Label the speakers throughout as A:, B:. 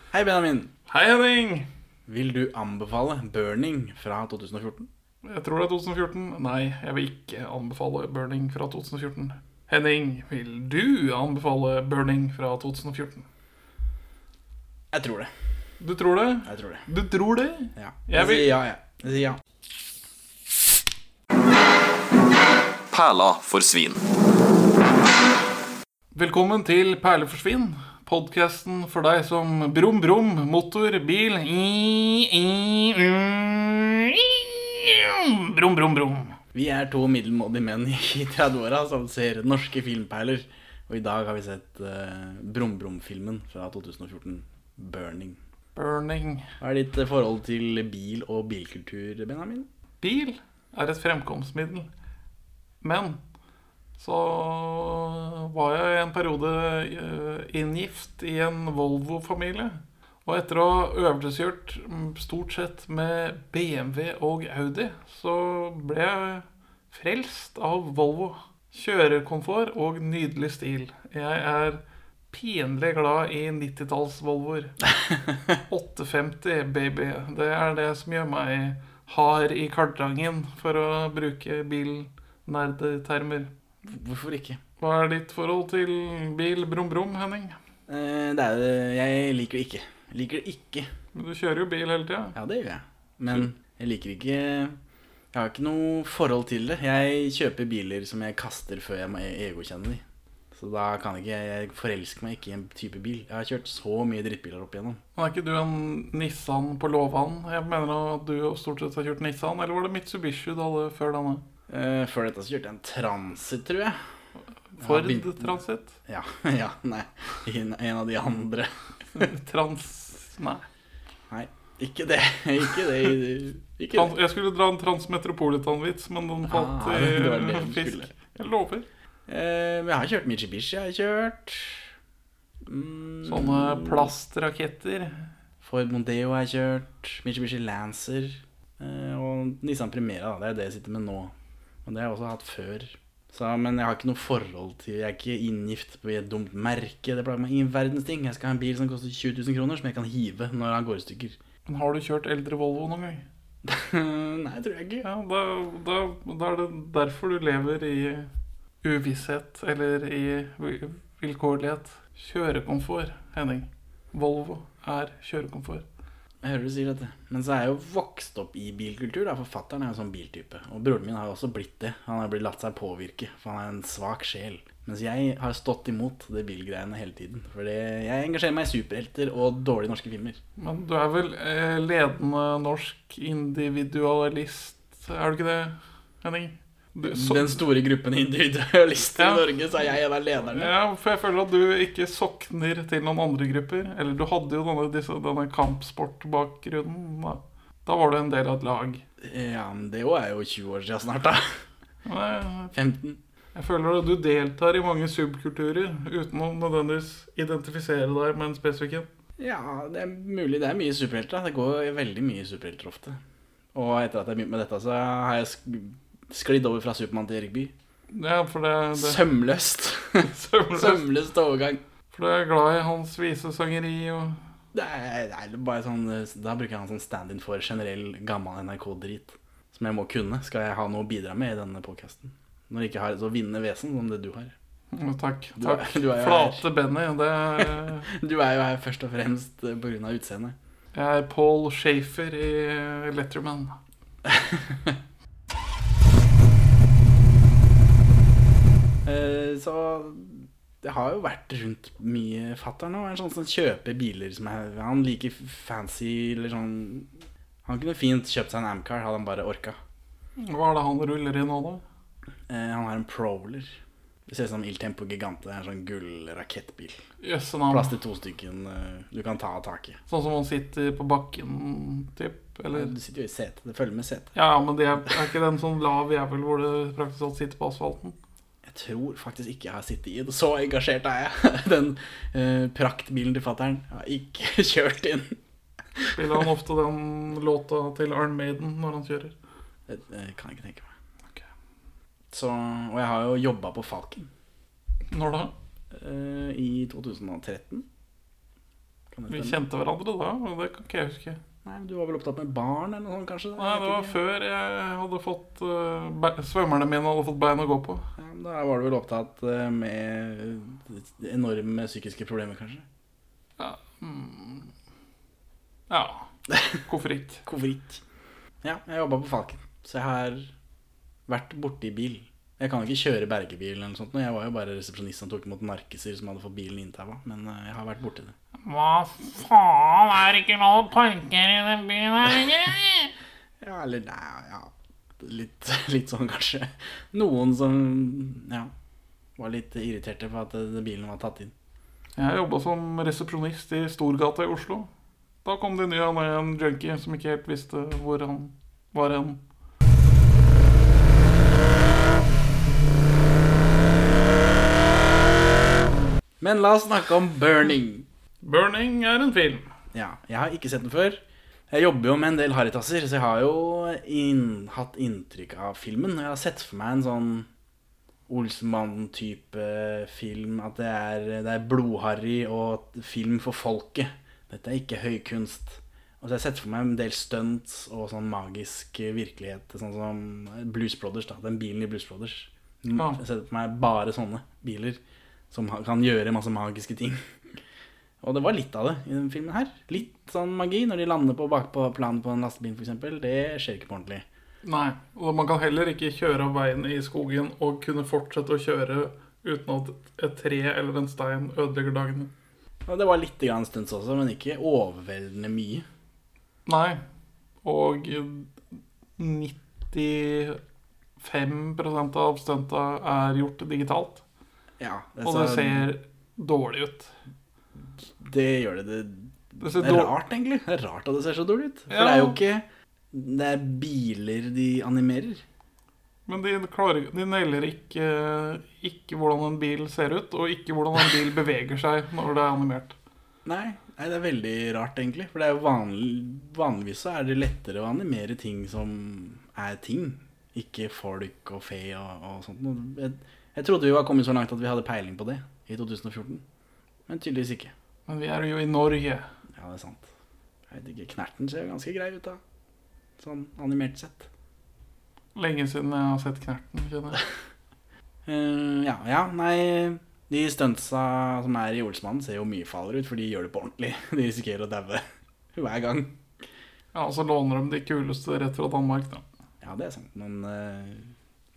A: Hei, Benjamin.
B: Hei, Henning!
A: Vil du anbefale 'Burning' fra 2014?
B: Jeg tror det er 2014. Nei, jeg vil ikke anbefale Burning fra 2014. Henning, vil du anbefale Burning fra 2014?
A: Jeg tror det.
B: Du tror det?
A: Jeg tror det.
B: Du tror det?
A: Ja.
B: Jeg
A: Jeg
B: vil-
A: sier ja, jeg. Jeg sier ja.
C: Perla for svin.
B: Velkommen til Perleforsvinn, podkasten for deg som brum, brum, motor, bil i, i, mm, Brum, brum, brum.
A: Vi er to middelmådige menn i 30-åra som ser norske filmpeiler. Og i dag har vi sett uh, Brum Brum-filmen fra 2014, 'Burning'.
B: Burning.
A: Hva er ditt eh, forhold til bil og bilkultur, Benjamin?
B: Bil er et fremkomstmiddel. Men så var jeg i en periode eh, inngift i en Volvo-familie. Og etter å ha øvelseskjørt mm, stort sett med BMW og Audi, så ble jeg frelst av Volvo. Kjørekomfort og nydelig stil. Jeg er pinlig glad i 90-talls-Volvoer. 850, baby. Det er det som gjør meg hard i kartrangen, for å bruke bilnerdetermer.
A: Hvorfor ikke?
B: Hva er ditt forhold til bil brum-brum, Henning?
A: Eh, det er, jeg liker det ikke. Jeg liker det ikke.
B: Du kjører jo bil hele tida.
A: Ja, det gjør jeg. Men
B: Mm.
A: jeg liker ikke Jeg har ikke noe forhold til det. Jeg kjøper biler som jeg kaster før jeg må e- egokjenne de. Så da kan ikke jeg, jeg forelsker meg ikke i en type bil. Jeg har kjørt så mye drittbiler opp igjennom.
B: Men er ikke du en Nissan på låven? Jeg mener at du stort sett har kjørt Nissan, eller var det Mitsubishi du hadde før denne?
A: Eh, før dette så kjørte jeg en Transit, tror jeg.
B: Ford
A: begynte-
B: Transit?
A: Ja, ja, nei. En en av de andre.
B: Trans... Nei.
A: Ikke det. Ikke det. Ikke
B: Trans,
A: det.
B: jeg skulle dra en Transmetropolitan-vits, men den falt
A: Ah,
B: i
A: det var det du
B: fisk.
A: skulle.
B: Jeg lover.
A: Eh, men jeg har kjørt Mitsubishi. Jeg har kjørt mm,
B: Sånne plastraketter.
A: Ford Mondeo har jeg kjørt, Mitsubishi Lancer eh, og Nissan Primera. da, Det er det jeg sitter med nå. Og det har jeg også hatt før. Så, men jeg har ikke noe forhold til Jeg er ikke inngift på et dumt merke. Det plager meg ingen verdens ting. Jeg skal ha en bil som koster 20 000 kroner, som jeg kan hive når han går i stykker.
B: Men har du kjørt eldre Volvo noen gang?
A: Nei, tror jeg ikke.
B: Ja, da, da, da er det derfor du lever i uvisshet, eller i vil- vilkårlighet. Kjørekomfort, Henning. Volvo er kjørekomfort.
A: Jeg hører du sier dette. Men så er jeg jo vokst opp i bilkultur. da Forfatteren er jo en sånn biltype. Og broren min har jo også blitt det. Han har blitt latt seg påvirke, for han er en svak sjel. Mens jeg har stått imot det bilgreiene hele tiden. For det- jeg engasjerer meg i superhelter og dårlige norske filmer.
B: Men du er vel eh, ledende norsk individualist, er du ikke det, Henning? Du, så,
A: Den store gruppen individualister
B: Ja.
A: i Norge, så er jeg en av lederne.
B: ja, for jeg føler at du ikke sokner til noen andre grupper. Eller du hadde jo denne, disse, denne kampsportbakgrunnen. Da. da var du en del av et lag.
A: Ja, men det òg er jo 20 år siden snart, da.
B: Men, eh,
A: 15.
B: Jeg føler at du deltar i mange subkulturer uten å nødvendigvis identifisere deg med en spesifikk en.
A: Ja, det er mulig. Det er mye superhelter. da. Det går veldig mye superhelter ofte. Og etter at jeg begynte med dette, så har jeg sk- sklidd over fra Supermann til Erik Bye.
B: Ja, for det, det
A: Sømløst.
B: Søvnløs.
A: Sømløst overgang.
B: For du er glad i hans visesangeri og
A: Det er, det er bare sånn, da bruker jeg en sånn stand-in for generell gammel NRK-drit. Som jeg må kunne, skal jeg ha noe å bidra med i denne podkasten. Når jeg ikke har et så vinnende vesen som det du har.
B: Å, Takk.
A: Du er-
B: takk.
A: du er jo
B: Flate Benny. Det er,
A: Du er jo her først og fremst eh, pga. utseendet.
B: jeg er Paul Shafer i Letterman.
A: Eh, Så jeg har jo vært rundt mye fatter'n nå. Er sånn som kjøper biler som er Han liker fancy eller sånn Han kunne fint kjøpt seg en Amcar, hadde han bare orka.
B: Hva er det han ruller i nå, da?
A: Eh, Han har en Prowler. Det ser ut som Il Tempo Gigante. Det er en sånn gullrakettbil.
B: Jøsse
A: Plass
B: navn.
A: til to stykken eh, du kan ta av taket.
B: Sånn som han sitter på bakken, typ? Eller
A: Du sitter jo i setet. Det følger med setet.
B: Ja, men det er, er ikke den sånn lav jævel hvor du praktisk talt sitter på asfalten?
A: Jeg tror faktisk ikke jeg har sittet i det. Så engasjert er jeg. Den eh, praktbilen til fatter'n har ikke kjørt inn.
B: Spiller han ofte den låta til Arn Maiden når han kjører?
A: Det, det kan jeg ikke tenke meg.
B: Ok.
A: Så, og jeg har jo jobba på Falken
B: Når da?
A: eh, i 2013. Kan
B: Vi
A: det stemme?
B: kjente hverandre da, og det kan ikke jeg huske.
A: Nei, men Du var vel opptatt med barn eller noe sånt, kanskje?
B: Nei, det var før jeg hadde fått eh, be- Svømmerne mine hadde fått bein å gå på.
A: Ja, men da var du vel opptatt eh, med eh, enorme psykiske problemer, kanskje?
B: Ja. Mm. ja. Hvorfor ikke?
A: Hvorfor ikke? Ja, jeg jobba på Falken, så jeg har vært borti bil. Jeg kan ikke kjøre bergebil eller noe sånt. nå. Jeg var jo bare resepsjonist som tok imot narkiser som hadde fått bilen inntaua. Men eh, jeg har vært borti det.
D: Hva faen er det ikke lov å parkere i den byen her lenger?
A: Ja, eller nei, ja litt, litt sånn kanskje. Noen som ja, var litt irriterte på at eh, bilen var tatt inn.
B: Jeg jobba som resepsjonist i Storgata i Oslo. Da kom det ny og ne en junkie som ikke helt visste hvor han var hen.
A: Men la oss snakke om burning.
B: Burning er en film.
A: Ja, jeg har ikke sett den før. Jeg jobber jo med en del harrytasser, så jeg har jo inn, hatt inntrykk av filmen. Og jeg har sett for meg en sånn Olsmann-type film. At det er, det er blodharry og film for folket. Dette er ikke høykunst. Og så har jeg sett for meg en del stunts og sånn magisk virkelighet. Sånn som Blues Brothers, da. Den bilen i Blues Brothers. Jeg
B: Ja.
A: har sett for meg bare sånne biler som ha- kan gjøre masse magiske ting. Og det var litt av det i denne filmen her. Litt sånn magi når de lander på bakpå planen på en lastebil, f.eks. Det skjer ikke på ordentlig.
B: Nei, og man kan heller ikke kjøre av veien i skogen og kunne fortsette å kjøre uten at et tre eller en stein ødelegger dagen.
A: Og det var litt grann stunts også, men ikke overveldende mye.
B: Nei, og 95 av stunta er gjort digitalt,
A: Ja, altså, det,
B: og det ser dårlig ut.
A: det gjør det, det
B: Det ser
A: Det er
B: dårlig
A: rart, egentlig. Det er rart at det ser så dårlig ut. For
B: Ja.
A: det er jo ikke Det er biler de animerer.
B: Men de, klarer, de nailer ikke, ikke hvordan en bil ser ut, og ikke hvordan en bil beveger seg når det er animert.
A: Nei, nei, det er veldig rart, egentlig. For det er jo vanlig, vanligvis så er det lettere å animere ting som er ting. Ikke folk og fe og, og sånt. noe. Jeg, jeg trodde vi var kommet så langt at vi hadde peiling på det i 2014. Men tydeligvis ikke.
B: Men vi er jo i Norge.
A: Ja, det er sant. Jeg vet ikke, Knerten ser jo ganske grei ut, da. Sånn animert sett.
B: Lenge siden jeg har sett Knerten, kjenner jeg.
A: Eh, ja, ja, nei De stuntsa som er i Olsmannen, ser jo mye farligere ut, for de gjør det på ordentlig. De risikerer å daue hver gang.
B: Ja, og så låner de de kuleste rett fra Danmark, da.
A: Ja, det er sant, men, eh,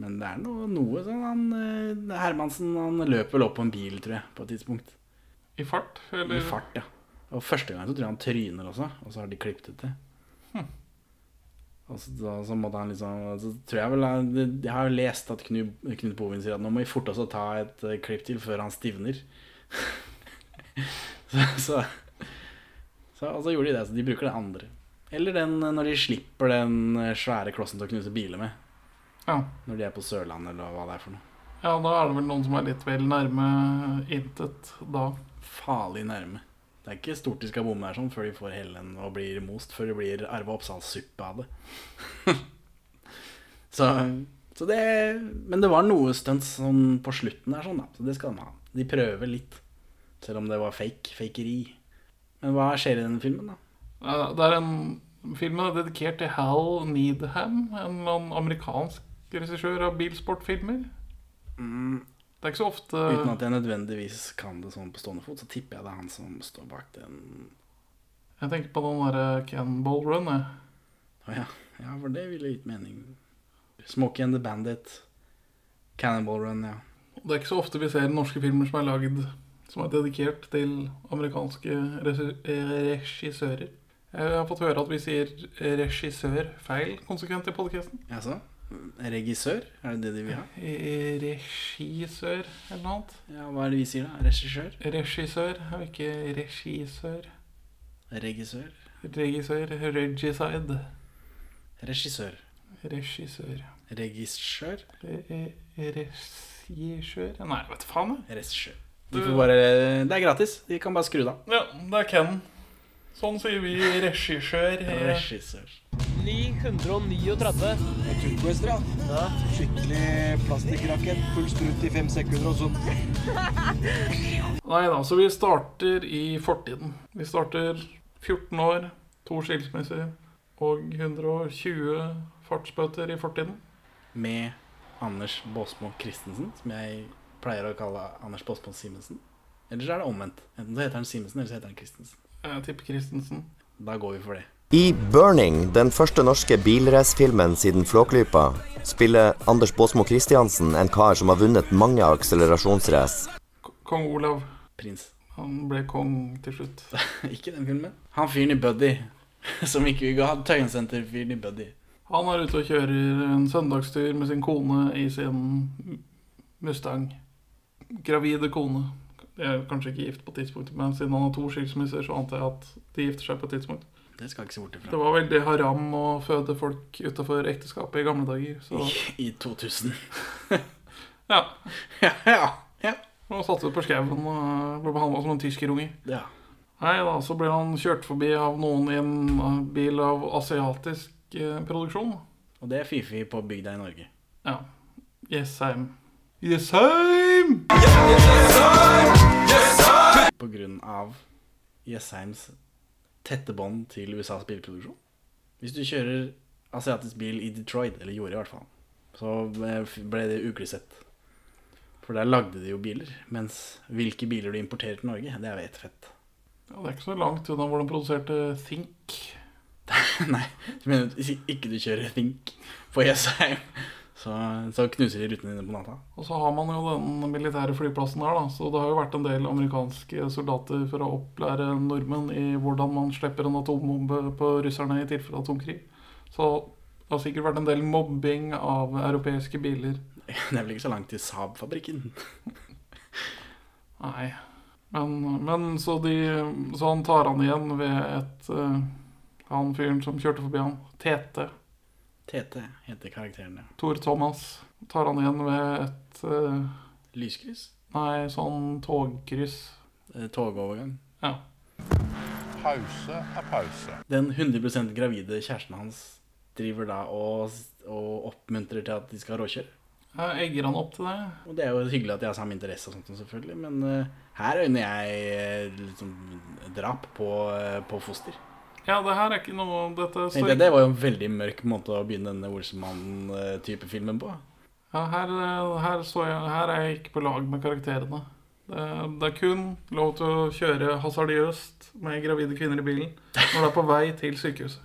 A: men det er noe, noe sånn han eh, Hermansen han løper vel opp på en bil, tror jeg, på et tidspunkt.
B: I fart, eller?
A: I fart, ja. Og første gang så tror jeg han tryner også, og så har de klippet ut det.
B: Hm.
A: Og så, så, så måtte han liksom Så tror jeg vel han- Jeg har jo lest at Knut, Knut Bovin sier at nå må vi forte oss å ta et eh, klipp til før han stivner. så, så, så Og så gjorde de det. Så de bruker det andre. Eller den eh, når de slipper den eh, svære klossen til å knuse biler med.
B: Ja.
A: Når de er på Sørlandet, eller hva det er for noe.
B: ja, da er det vel noen som er litt vel nærme intet da.
A: Farlig nærme. Det er ikke stort de skal bomme her sånn før de får hellen og blir most, før det blir Arve Oppsal-suppe av det. så, så det Men det var noe stunts sånn på slutten der, sånn, da. Så det skal de ha. De prøver litt. Selv om det var fake. Fakeri. Men hva skjer i denne filmen, da?
B: Eh, Det er en Filmen er dedikert til Hal Needham, en eller annen amerikansk regissør av bilsportfilmer. Det er ikke så ofte
A: Uten at jeg nødvendigvis kan det sånn på stående fot, så tipper jeg det er han som står bak den.
B: Jeg tenker på den derre Cannonball Run, jeg.
A: Å ja. ja, for det ville gitt mening. Smokey and the Bandit. Cannibal Run, ja.
B: Det er ikke så ofte vi ser norske filmer som er lagd som er dedikert til amerikanske regi- eh, regissører. Jeg har fått høre at vi sier regissør feil konsekvent i podkasten.
A: Jaså? Regissør? Er det det de vil ha?
B: Eh, Regissør eller noe annet.
A: Ja, Hva er det vi sier, da? Regissør?
B: Regissør er jo ikke regissør.
A: Regissør?
B: Regissør. Regicide.
A: Regissør.
B: Regissør.
A: Regissør?
B: Re- re- Regissør Nei, vet du faen, jeg.
A: Regissør. De får bare, det er gratis. De kan bare skru det av.
B: Ja, det er Ken. Sånn sier vi regissør. eh,
A: Regissør.
E: 939.
F: Turquestra. Ja. Skikkelig plastikkrakken. Full strut i fem sekunder, og sånn. så
B: Nei da, så vi starter i fortiden. Vi starter 14 år, to skilsmisser og 120 fartsbøter i fortiden.
A: med Anders Båsmo Christensen, som jeg pleier å kalle Anders Båsmo Simensen. Eller så er det omvendt. Enten så heter han Simensen, eller så heter han Christensen.
B: Jeg tipper Christensen.
A: Da går vi for det.
G: I Burning, den første norske bilracefilmen siden Flåklypa, spiller Anders Båsmo Christiansen en kar som har vunnet mange akselerasjonsrace.
B: K- Kong Olav.
A: Prins.
B: Han ble kong til slutt.
A: ikke den filmen. Han fyren i Buddy, som ikke vi ga tøyensenterfyren i Buddy.
B: Han er ute og kjører en søndagstur med sin kone i sin Mustang. Gravide kone. De er kanskje ikke gift på tidspunktet, men siden han har to skilsmisser, så antar jeg at de gifter seg på et tidspunkt.
A: Det skal jeg ikke se bort
B: Det
A: ifra.
B: var veldig haram å føde folk utafor ekteskapet i gamle dager. Så
A: I 2000.
B: ja,
A: ja, ja, ja.
B: han satset på skauen og ble behandla som en tyskerunge.
A: Ja.
B: Nei da, så ble han kjørt forbi av noen i en eh, bil av asiatisk eh, produksjon.
A: Og det er fifi på bygda i Norge.
B: Ja. Jessheim. Jessheim!
A: På grunn av Jesseims tette bånd til USAs bilproduksjon. Hvis du kjører asiatisk bil i Detroit, eller gjorde i hvert fall, så ble det uglesett. For der lagde de jo biler. Mens hvilke biler du importerer til Norge, det er vet fett.
B: Ja, det er ikke så langt unna hvor de produserte Think.
A: Nei, jeg mener hvis ikke du kjører Think på E Jessheim, så, så knuser de rutene dine på natta.
B: Og så har man jo den militære flyplassen her, da. Så det har jo vært en del amerikanske soldater for å opplære nordmenn i hvordan man slipper en atombombe på russerne i tilfelle atomkrig. Så det har sikkert vært en del mobbing av europeiske biler.
A: Det er vel ikke så langt til Saab-fabrikken.
B: Nei. Men, men så, de, så han tar han igjen ved et eh, Han fyren som kjørte forbi han. Tete.
A: TT heter karakterene.
B: Tor Thomas. Tar han igjen ved et eh,
A: Lyskryss?
B: Nei, sånn togkryss.
A: Eh, Togovergang.
B: Ja.
H: Pause er pause.
A: Den 100 gravide kjæresten hans driver da og, og oppmuntrer til at de skal råkjøre.
B: Jeg egger han opp til det.
A: Og det er jo hyggelig at de har samme interesse og sånt, selvfølgelig, men eh, her øyner jeg eh, liksom drap på, eh, på foster.
B: Ja, det her er ikke noe Dette
A: Tenkte
B: står
A: jeg, Det var jo en veldig mørk måte å begynne denne Olsenmannen-type filmen på.
B: ja, her, eh, her, så jeg, her er jeg ikke på lag med karakterene. Det, det er kun lov til å kjøre hasardiøst med gravide kvinner i bilen når det er på vei til sykehuset.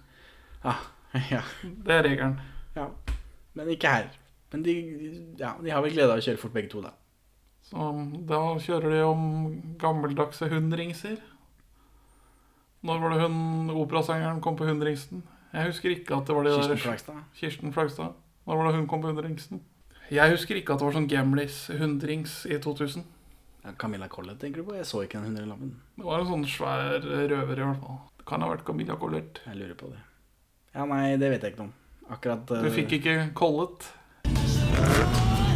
A: Ja, ja,
B: Det er regelen.
A: ja. Men ikke her. Men de, ja, de har vel glede av å kjøre fort begge to, da.
B: Så um, da kjører de om gammeldagse hundringser. Når var det hun operasangeren kom på hundringsen? Jeg husker ikke at det var de
A: Kirsten
B: der
A: Flagstad.
B: Kirsten Flagstad. Når var det hun kom på hundringsen? Jeg husker ikke at det var sånn Gamlis hundrings i 2000.
A: Ja, Camilla Collett, tenker du på? Jeg så ikke den hundrelappen.
B: Det var en sånn svær røver i hvert fall. Det kan ha vært Camilla Collert.
A: Jeg lurer på det. Ja, nei, det vet jeg ikke noe om. Akkurat eh,
B: Du fikk ikke kollet.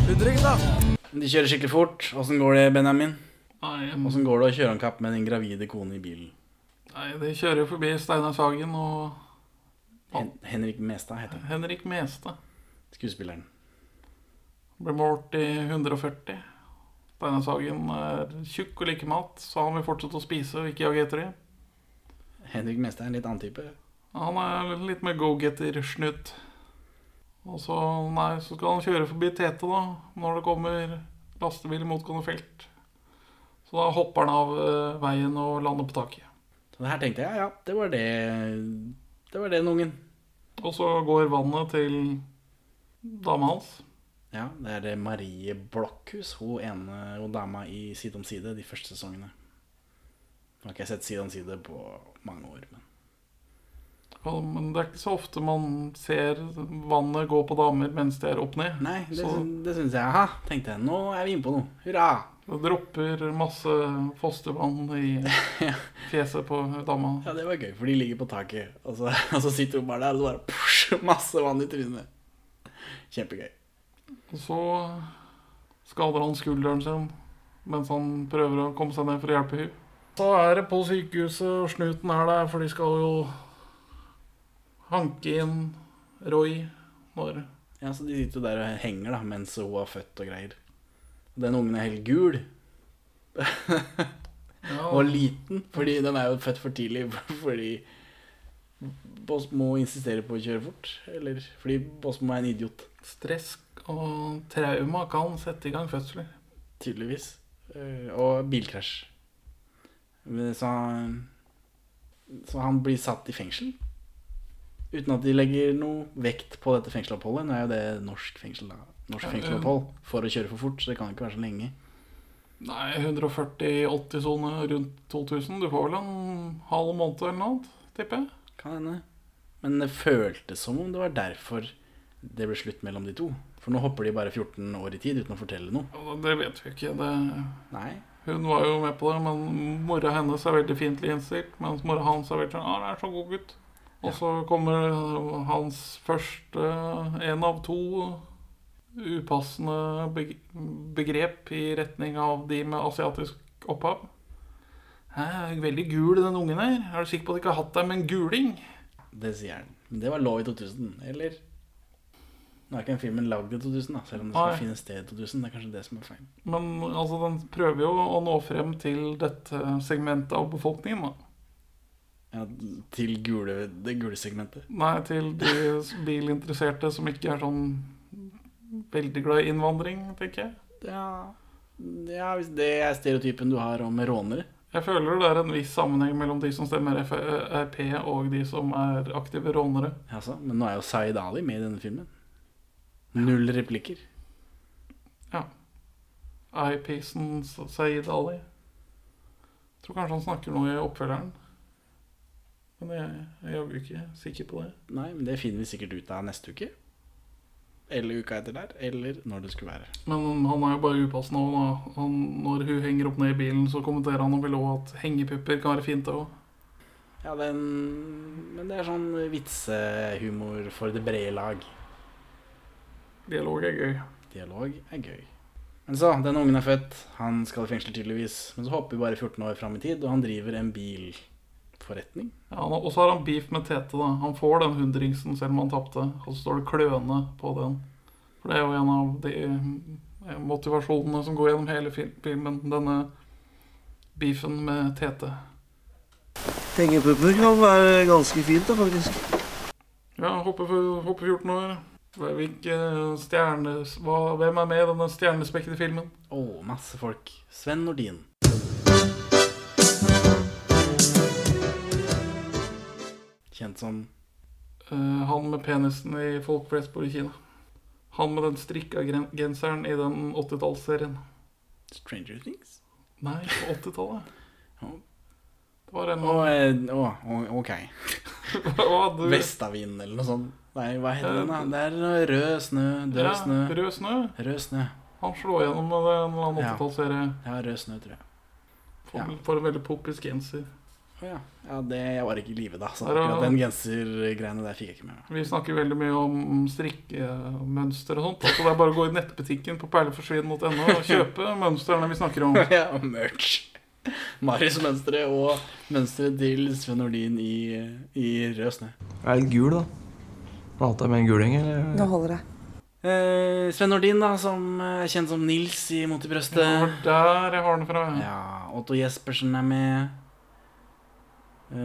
F: Hundringen, da!
A: De kjører skikkelig fort. Åssen går det, Benjamin?
B: Nei,
A: Åssen går det å kjøre om kapp med din gravide kone i bilen?
B: Mm. nei, de kjører jo forbi Steinar Sagen og
A: Hen Henrik Mestad heter han.
B: Henrik Mestad.
A: Skuespilleren.
B: Ble målt i 140. Steinar Sagen er tjukk og liker mat, så han vil fortsette å spise og ikke jage etter dem.
A: Henrik Mestad er en litt annen type.
B: Han er litt mer go-getter-snutt. Og så, nei, så skal han kjøre forbi Tete, da, når det kommer lastebil i motgående felt. Så da hopper han av eh, veien og lander på taket.
A: Så det her tenkte jeg, ja, ja, det var det Det var den ungen.
B: Og så går vannet til dama hans.
A: Ja, det er det Marie Blokhus, hun ene hun dama i Side om side de første sesongene. Nå har ikke jeg sett Side om side på mange år, men
B: Og- Men det er ikke så ofte man ser vannet gå på damer mens de er opp ned.
A: Nei, det,
B: så
A: syn- det syns jeg. Aha, tenkte jeg. Nå er vi inne på noe. Hurra!
B: Det dropper masse fostervann i fjeset på dama.
A: Ja, det var gøy, for de ligger på taket, og så, og så sitter hun bare der, og så bare push, masse vann i trynet. Kjempegøy.
B: Og så skader han skulderen sin mens han prøver å komme seg ned for å hjelpe henne. Så er det på sykehuset, og snuten er der, for de skal jo hanke inn Roy når
A: Ja, så De sitter jo der og henger da, mens hun har født og greier. Den ungen er helt gul og liten, fordi den er jo født for tidlig fordi Båsmo insisterer på å kjøre fort. Eller fordi Båsmo er en idiot,
B: Stress og trauma kan sette i gang fødsler.
A: tydeligvis. Eh, Og bilkrasj. Men Så, så han blir satt i fengsel. Uten at de legger noe vekt på dette fengseloppholdet. Nå er jo det norsk fengsel, da. Norsk fengselopphold for å kjøre for fort, så det kan ikke være så lenge.
B: Nei, 140-80-sone rundt 2000. Du får vel en halv måned eller noe, annet, tipper jeg.
A: Kan hende. Men det føltes som om det var derfor det ble slutt mellom de to. For nå hopper de bare 14 år i tid uten å fortelle noe.
B: Ja, Det vet vi ikke. Det...
A: Nei.
B: Hun var jo med på det, men mora hennes er veldig fiendtlig innstilt. Mens mora hans er veldig sånn 'Å, det er så god gutt'. Og så kommer eh, hans første én av to upassende beg- begrep i retning av de med asiatisk opphav. Hæ, veldig gul den ungen her. Er du sikker på at de ikke har hatt deg med en guling?
A: Det sier han. Men det var lov i 2000, eller? Nå er ikke den filmen lagd i 2000, da, selv om det
B: Nei.
A: skal finne sted i 2000. Det er kanskje det som er feil.
B: Men altså, den prøver jo å nå frem til dette segmentet av befolkningen, da.
A: Ja, til gule, det gule segmentet.
B: Nei, til de bilinteresserte som ikke er sånn veldig glad i innvandring, tenker jeg.
A: Ja. ja, hvis det er stereotypen du har om rånere.
B: Jeg føler det er en viss sammenheng mellom de som stemmer F- Frp og de som er aktive rånere.
A: Altså, men nå er jo Zaid Ali med i denne filmen. Null replikker.
B: Ja. Eyepiecen Saeed Ali. Tror kanskje han snakker noe i oppfølgeren. Men jeg, jeg er jo ikke sikker på det.
A: Nei, men det finner vi sikkert ut av neste uke. Eller uka etter der, eller når det skulle være.
B: Men han er jo bare upassende. og da. Han, når hun henger opp ned i bilen, så kommenterer han og vil også at hengepupper kan være fint òg.
A: Ja, den, Men det er sånn vitsehumor for det brede lag.
B: Dialog er gøy.
A: Dialog er gøy. Men så, den ungen er født, han skal i fengsel tydeligvis. Men så hopper vi bare 14 år fram i tid, og han driver en bilforretning.
B: Ja, han har- Og så har han beef med Tete. da Han får den hundringsen selv om han tapte. Og så står det kløne på den. For det er jo en av de eh, motivasjonene som går gjennom hele fil- filmen. Denne beefen med Tete.
E: Pengepupper kan være ganske fint, da, faktisk.
B: Ja, hopper, for- hopper 14 år. Hvilke eh, stjerne... Hva, hvem er med i denne stjernespekkede filmen?
A: Å, masse folk. Sven Nordin. Kjent som
B: Eh, han med penisen i Folk flest bor i Kina. Han med den strikka gren- genseren i den 80-tallsserien.
A: Stranger Things.
B: Nei, på 80-tallet.
A: Ja.
B: Det var en
A: Å, eh, å, å, ok.
B: Hva hadde du-
A: Vestavind eller noe sånt. Nei, hva heter den da? Det er noe rød snø, død snø.
B: Ja, rød snø.
A: Rød snø.
B: Han slår gjennom med det en eller annen
A: Ja.
B: 80-tallsserie.
A: Ja, rød snø, tror jeg.
B: Får,
A: Ja.
B: får en veldig poppis genser.
A: Å ja. ja, det jeg var ikke i live da, så
B: Der var-
A: akkurat den gensergreiene der fikk jeg ikke med meg.
B: Vi snakker veldig mye om strikkemønster og sånt. Altså det er bare å gå i nettbutikken på perleforsvinn.no og kjøpe mønstrene vi snakker om.
A: Ja, og merch. Marius mønstre og mønsteret til Sven Nordin i, i rød snø.
E: Jeg er litt gul, da. Hater jeg med en guling, eller?
I: Nå holder det.
A: Eh, Sven Nordin, da, som er kjent som Nils i Mot i
B: Det var
A: brøstet.
B: der jeg har den fra.
A: Ja, Otto Jespersen er med. Eh,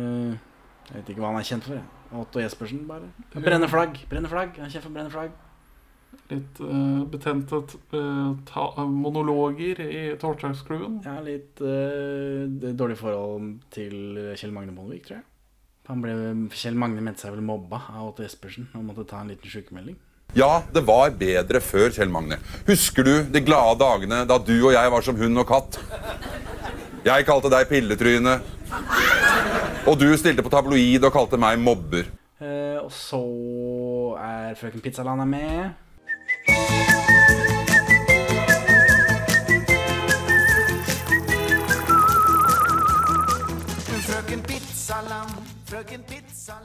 A: jeg vet ikke hva han er kjent for. Jeg. Otto Jespersen, bare. Brenne flagg. brenne flagg, Han er kjent for å brenne flagg.
B: Litt eh, betente eh, ta monologer i Torsdagsklubben.
A: Jeg har litt eh, det- dårlig forhold til Kjell Magne Bondevik, tror jeg. Han ble, Kjell Magne mente seg vel mobba av Otto Jespersen og måtte ta en liten sykemelding.
J: Ja, det var bedre før, Kjell Magne. Husker du de glade dagene da du og jeg var som hund og katt? Jeg kalte deg Pilletryne. Og du stilte på tabloid og kalte meg mobber.
A: Eh, og så er Frøken Pizzaland er med.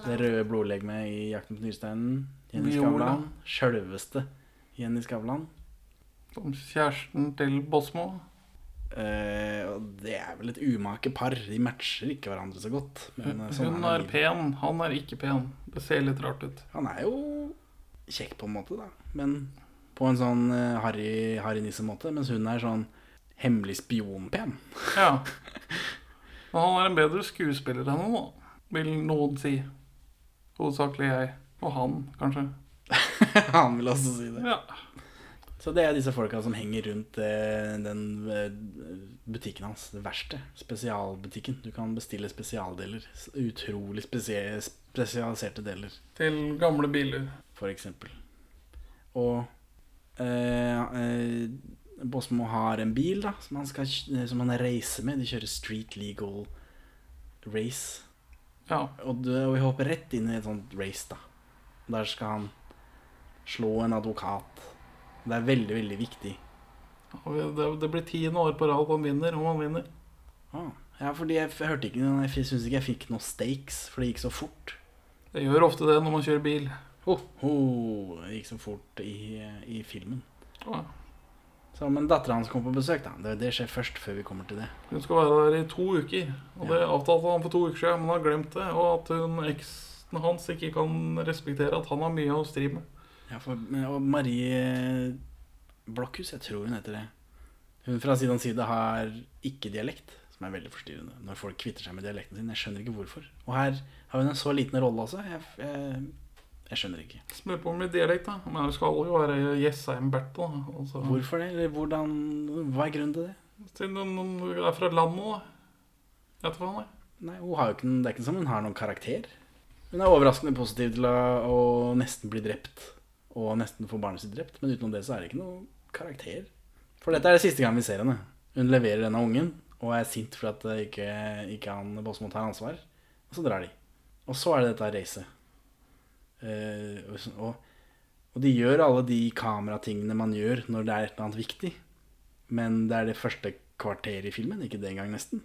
A: Det røde blodlegemet i Jakten på nyrsteinen. Jenny
B: Viola.
A: Skavlan. Sjølveste Jenny Skavlan.
B: Som kjæresten til Bosmo.
A: Eh, og det er vel et umake par. De matcher ikke hverandre så godt. Men eh, sånn
B: Hun
A: er
B: er
A: livet.
B: pen, han er ikke pen. Det ser litt rart ut.
A: Han er jo kjekk på en måte, da. Men på en sånn eh, harry, harry nisse-måte. Mens hun er sånn hemmelig spionpen.
B: Ja. Men han er en bedre skuespiller enn henne, da. Vil noen si. Hovedsakelig jeg. Og han, kanskje.
A: Han vil også si det.
B: Ja.
A: Så det er disse folka som henger rundt eh, den eh, butikken hans, det verste. Spesialbutikken. Du kan bestille spesialdeler. S- Utrolig spesie- spesialiserte deler,
B: Til gamle biler.
A: for eksempel. Og eh, eh, Båsmo har en bil da, som han, skal, kj- som han reiser med. De kjører street legal race.
B: Ja.
A: Og, du, og vi hopper rett inn i et sånt race, da. Og Der skal han slå en advokat. Det er veldig, veldig viktig.
B: Og Det, det blir tiende år på rad han vinner, om han vinner.
A: Ah, ja, fordi jeg, f- hørte ikke noe, jeg syns ikke jeg fikk noe stakes, for det gikk så fort.
B: Det gjør ofte det når man kjører bil.
A: Ho, ho, det gikk så fort i, i filmen.
B: Ja.
A: Så, men dattera hans kom på besøk, da. Det, det skjer først, før vi kommer til det.
B: Hun skal være der i to uker. Og det avtalte han for to uker siden, men har glemt det. Og at hun, eksen hans ikke kan respektere at han har mye å stri med.
A: Ja, for, men- og Marie Blokhus, jeg tror hun heter det. Hun fra Side om side har ikke dialekt, som er veldig forstyrrende. Når folk kvitter seg med dialekten sin. Jeg skjønner ikke hvorfor. Og her har hun en så liten rolle også. Jeg, jeg, jeg skjønner ikke.
B: Smør på med litt dialekt, da. Men det skal jo være Jessheim Berthe, da. Altså,
A: Hvorfor det? Eller hvordan Hva er grunnen til det?
B: Siden hun hun er fra landet, da. Jeg vet ikke faen, jeg.
A: Nei, hun har jo ikke, noen- det er ikke som hun har noen karakter. Hun er overraskende positiv til å, å nesten bli drept, og nesten få barnet sitt drept. Men utenom det så er det ikke noen karakter. For dette er det siste gang vi ser henne. Hun leverer denne ungen, og er sint for at eh, ikke, ikke han Båsmo tar ansvar. Og så drar de. Og så er det dette racet. Eh, og, så- og, og de gjør alle de kameratingene man gjør når det er et eller annet viktig. Men det er det første kvarteret i filmen, ikke det engang, nesten.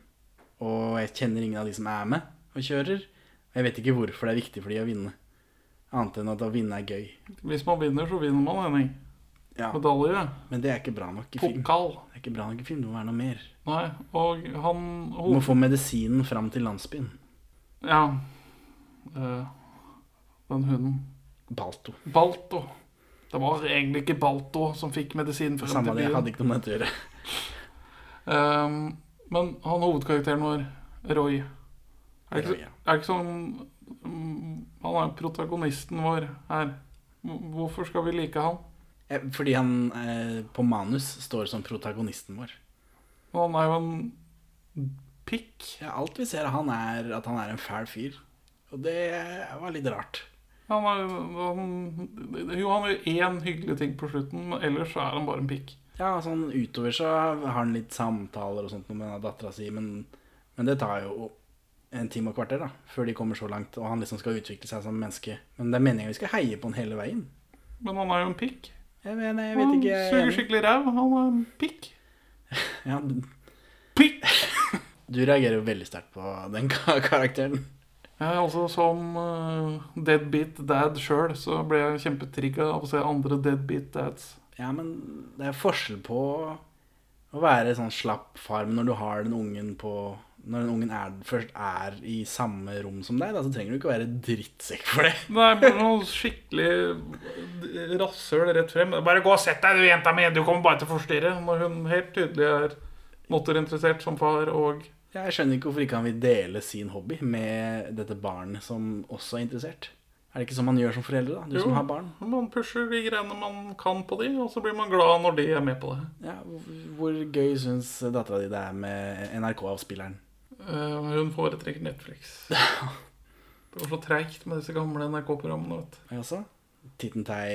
A: Og jeg kjenner ingen av de som er med og kjører. Og jeg vet ikke hvorfor det er viktig for de å vinne. Annet enn at å vinne er gøy.
B: Hvis man vinner, så vinner man, Henning.
A: Ja.
B: Medalje.
A: Men det er ikke bra nok i film.
B: Pokal.
A: Det er ikke bra nok i film, Det må være noe mer.
B: Nei, og han
A: Du må
B: hoved...
A: få medisinen fram til landsbyen.
B: Ja. Eh, den hunden.
A: Balto.
B: Balto. Det var egentlig ikke Balto som fikk medisin frem
A: Samme
B: til
A: det, jeg
B: byen.
A: hadde ikke noe med det å gjøre.
B: Ehm, men han hovedkarakteren vår, Roy Er det ikke,
A: Roy, ja.
B: er det ikke sånn mm, Han er protagonisten vår her. Hvor- Hvorfor skal vi like han?
A: Eh, Fordi han eh, på manus står som protagonisten vår.
B: Han er jo en pikk.
A: Ja, alt vi ser av han, er at han er en fæl fyr. Og det var litt rart.
B: Han er, han, jo, han gjør én hyggelig ting på slutten, men ellers så er han bare en pikk.
A: Ja, sånn utover så har han litt samtaler og sånt med denne dattera si, men, men det tar jo en time og kvarter da, før de kommer så langt, og han liksom skal utvikle seg som menneske. Men det er meningen vi skal heie på han hele veien.
B: Men han er jo en pikk.
A: Jeg, vet- jeg vet
B: Han
A: ikke jeg,
B: suger skikkelig ræv. Han er en pikk.
A: ja,
B: Pikk!
A: Du reagerer jo veldig sterkt på den ka- karakteren.
B: Jeg, altså, som eh, deadbeat dad sjøl, så ble jeg kjempetrigga av å se andre deadbeat dads.
A: Ja, men det er forskjell på å være sånn slapp far, men når du har den ungen på når den ungen er, først er i samme rom som deg, da, så trenger du ikke være drittsekk for det.
B: Nei, bare noe skikkelig rasshøl rett frem. Bare gå og sett deg, du jenta mi! Du kommer bare til å forstyrre. Når hun helt tydelig er motorinteressert som far og
A: Ja, Jeg skjønner ikke hvorfor ikke han vil dele sin hobby med dette barnet som også er interessert. Er det ikke sånn man gjør som foreldre, da? Du
B: Jo.
A: som har barn.
B: Man pusher de greiene man kan på de, og så blir man glad når de er med på det.
A: Ja, hvor- hvor gøy syns dattera di det er med NRK-avspilleren?
B: Eh, hun foretrekker Netflix. Det var så treigt med disse gamle NRK-programmene. vet du.
A: Jeg også. Tittentei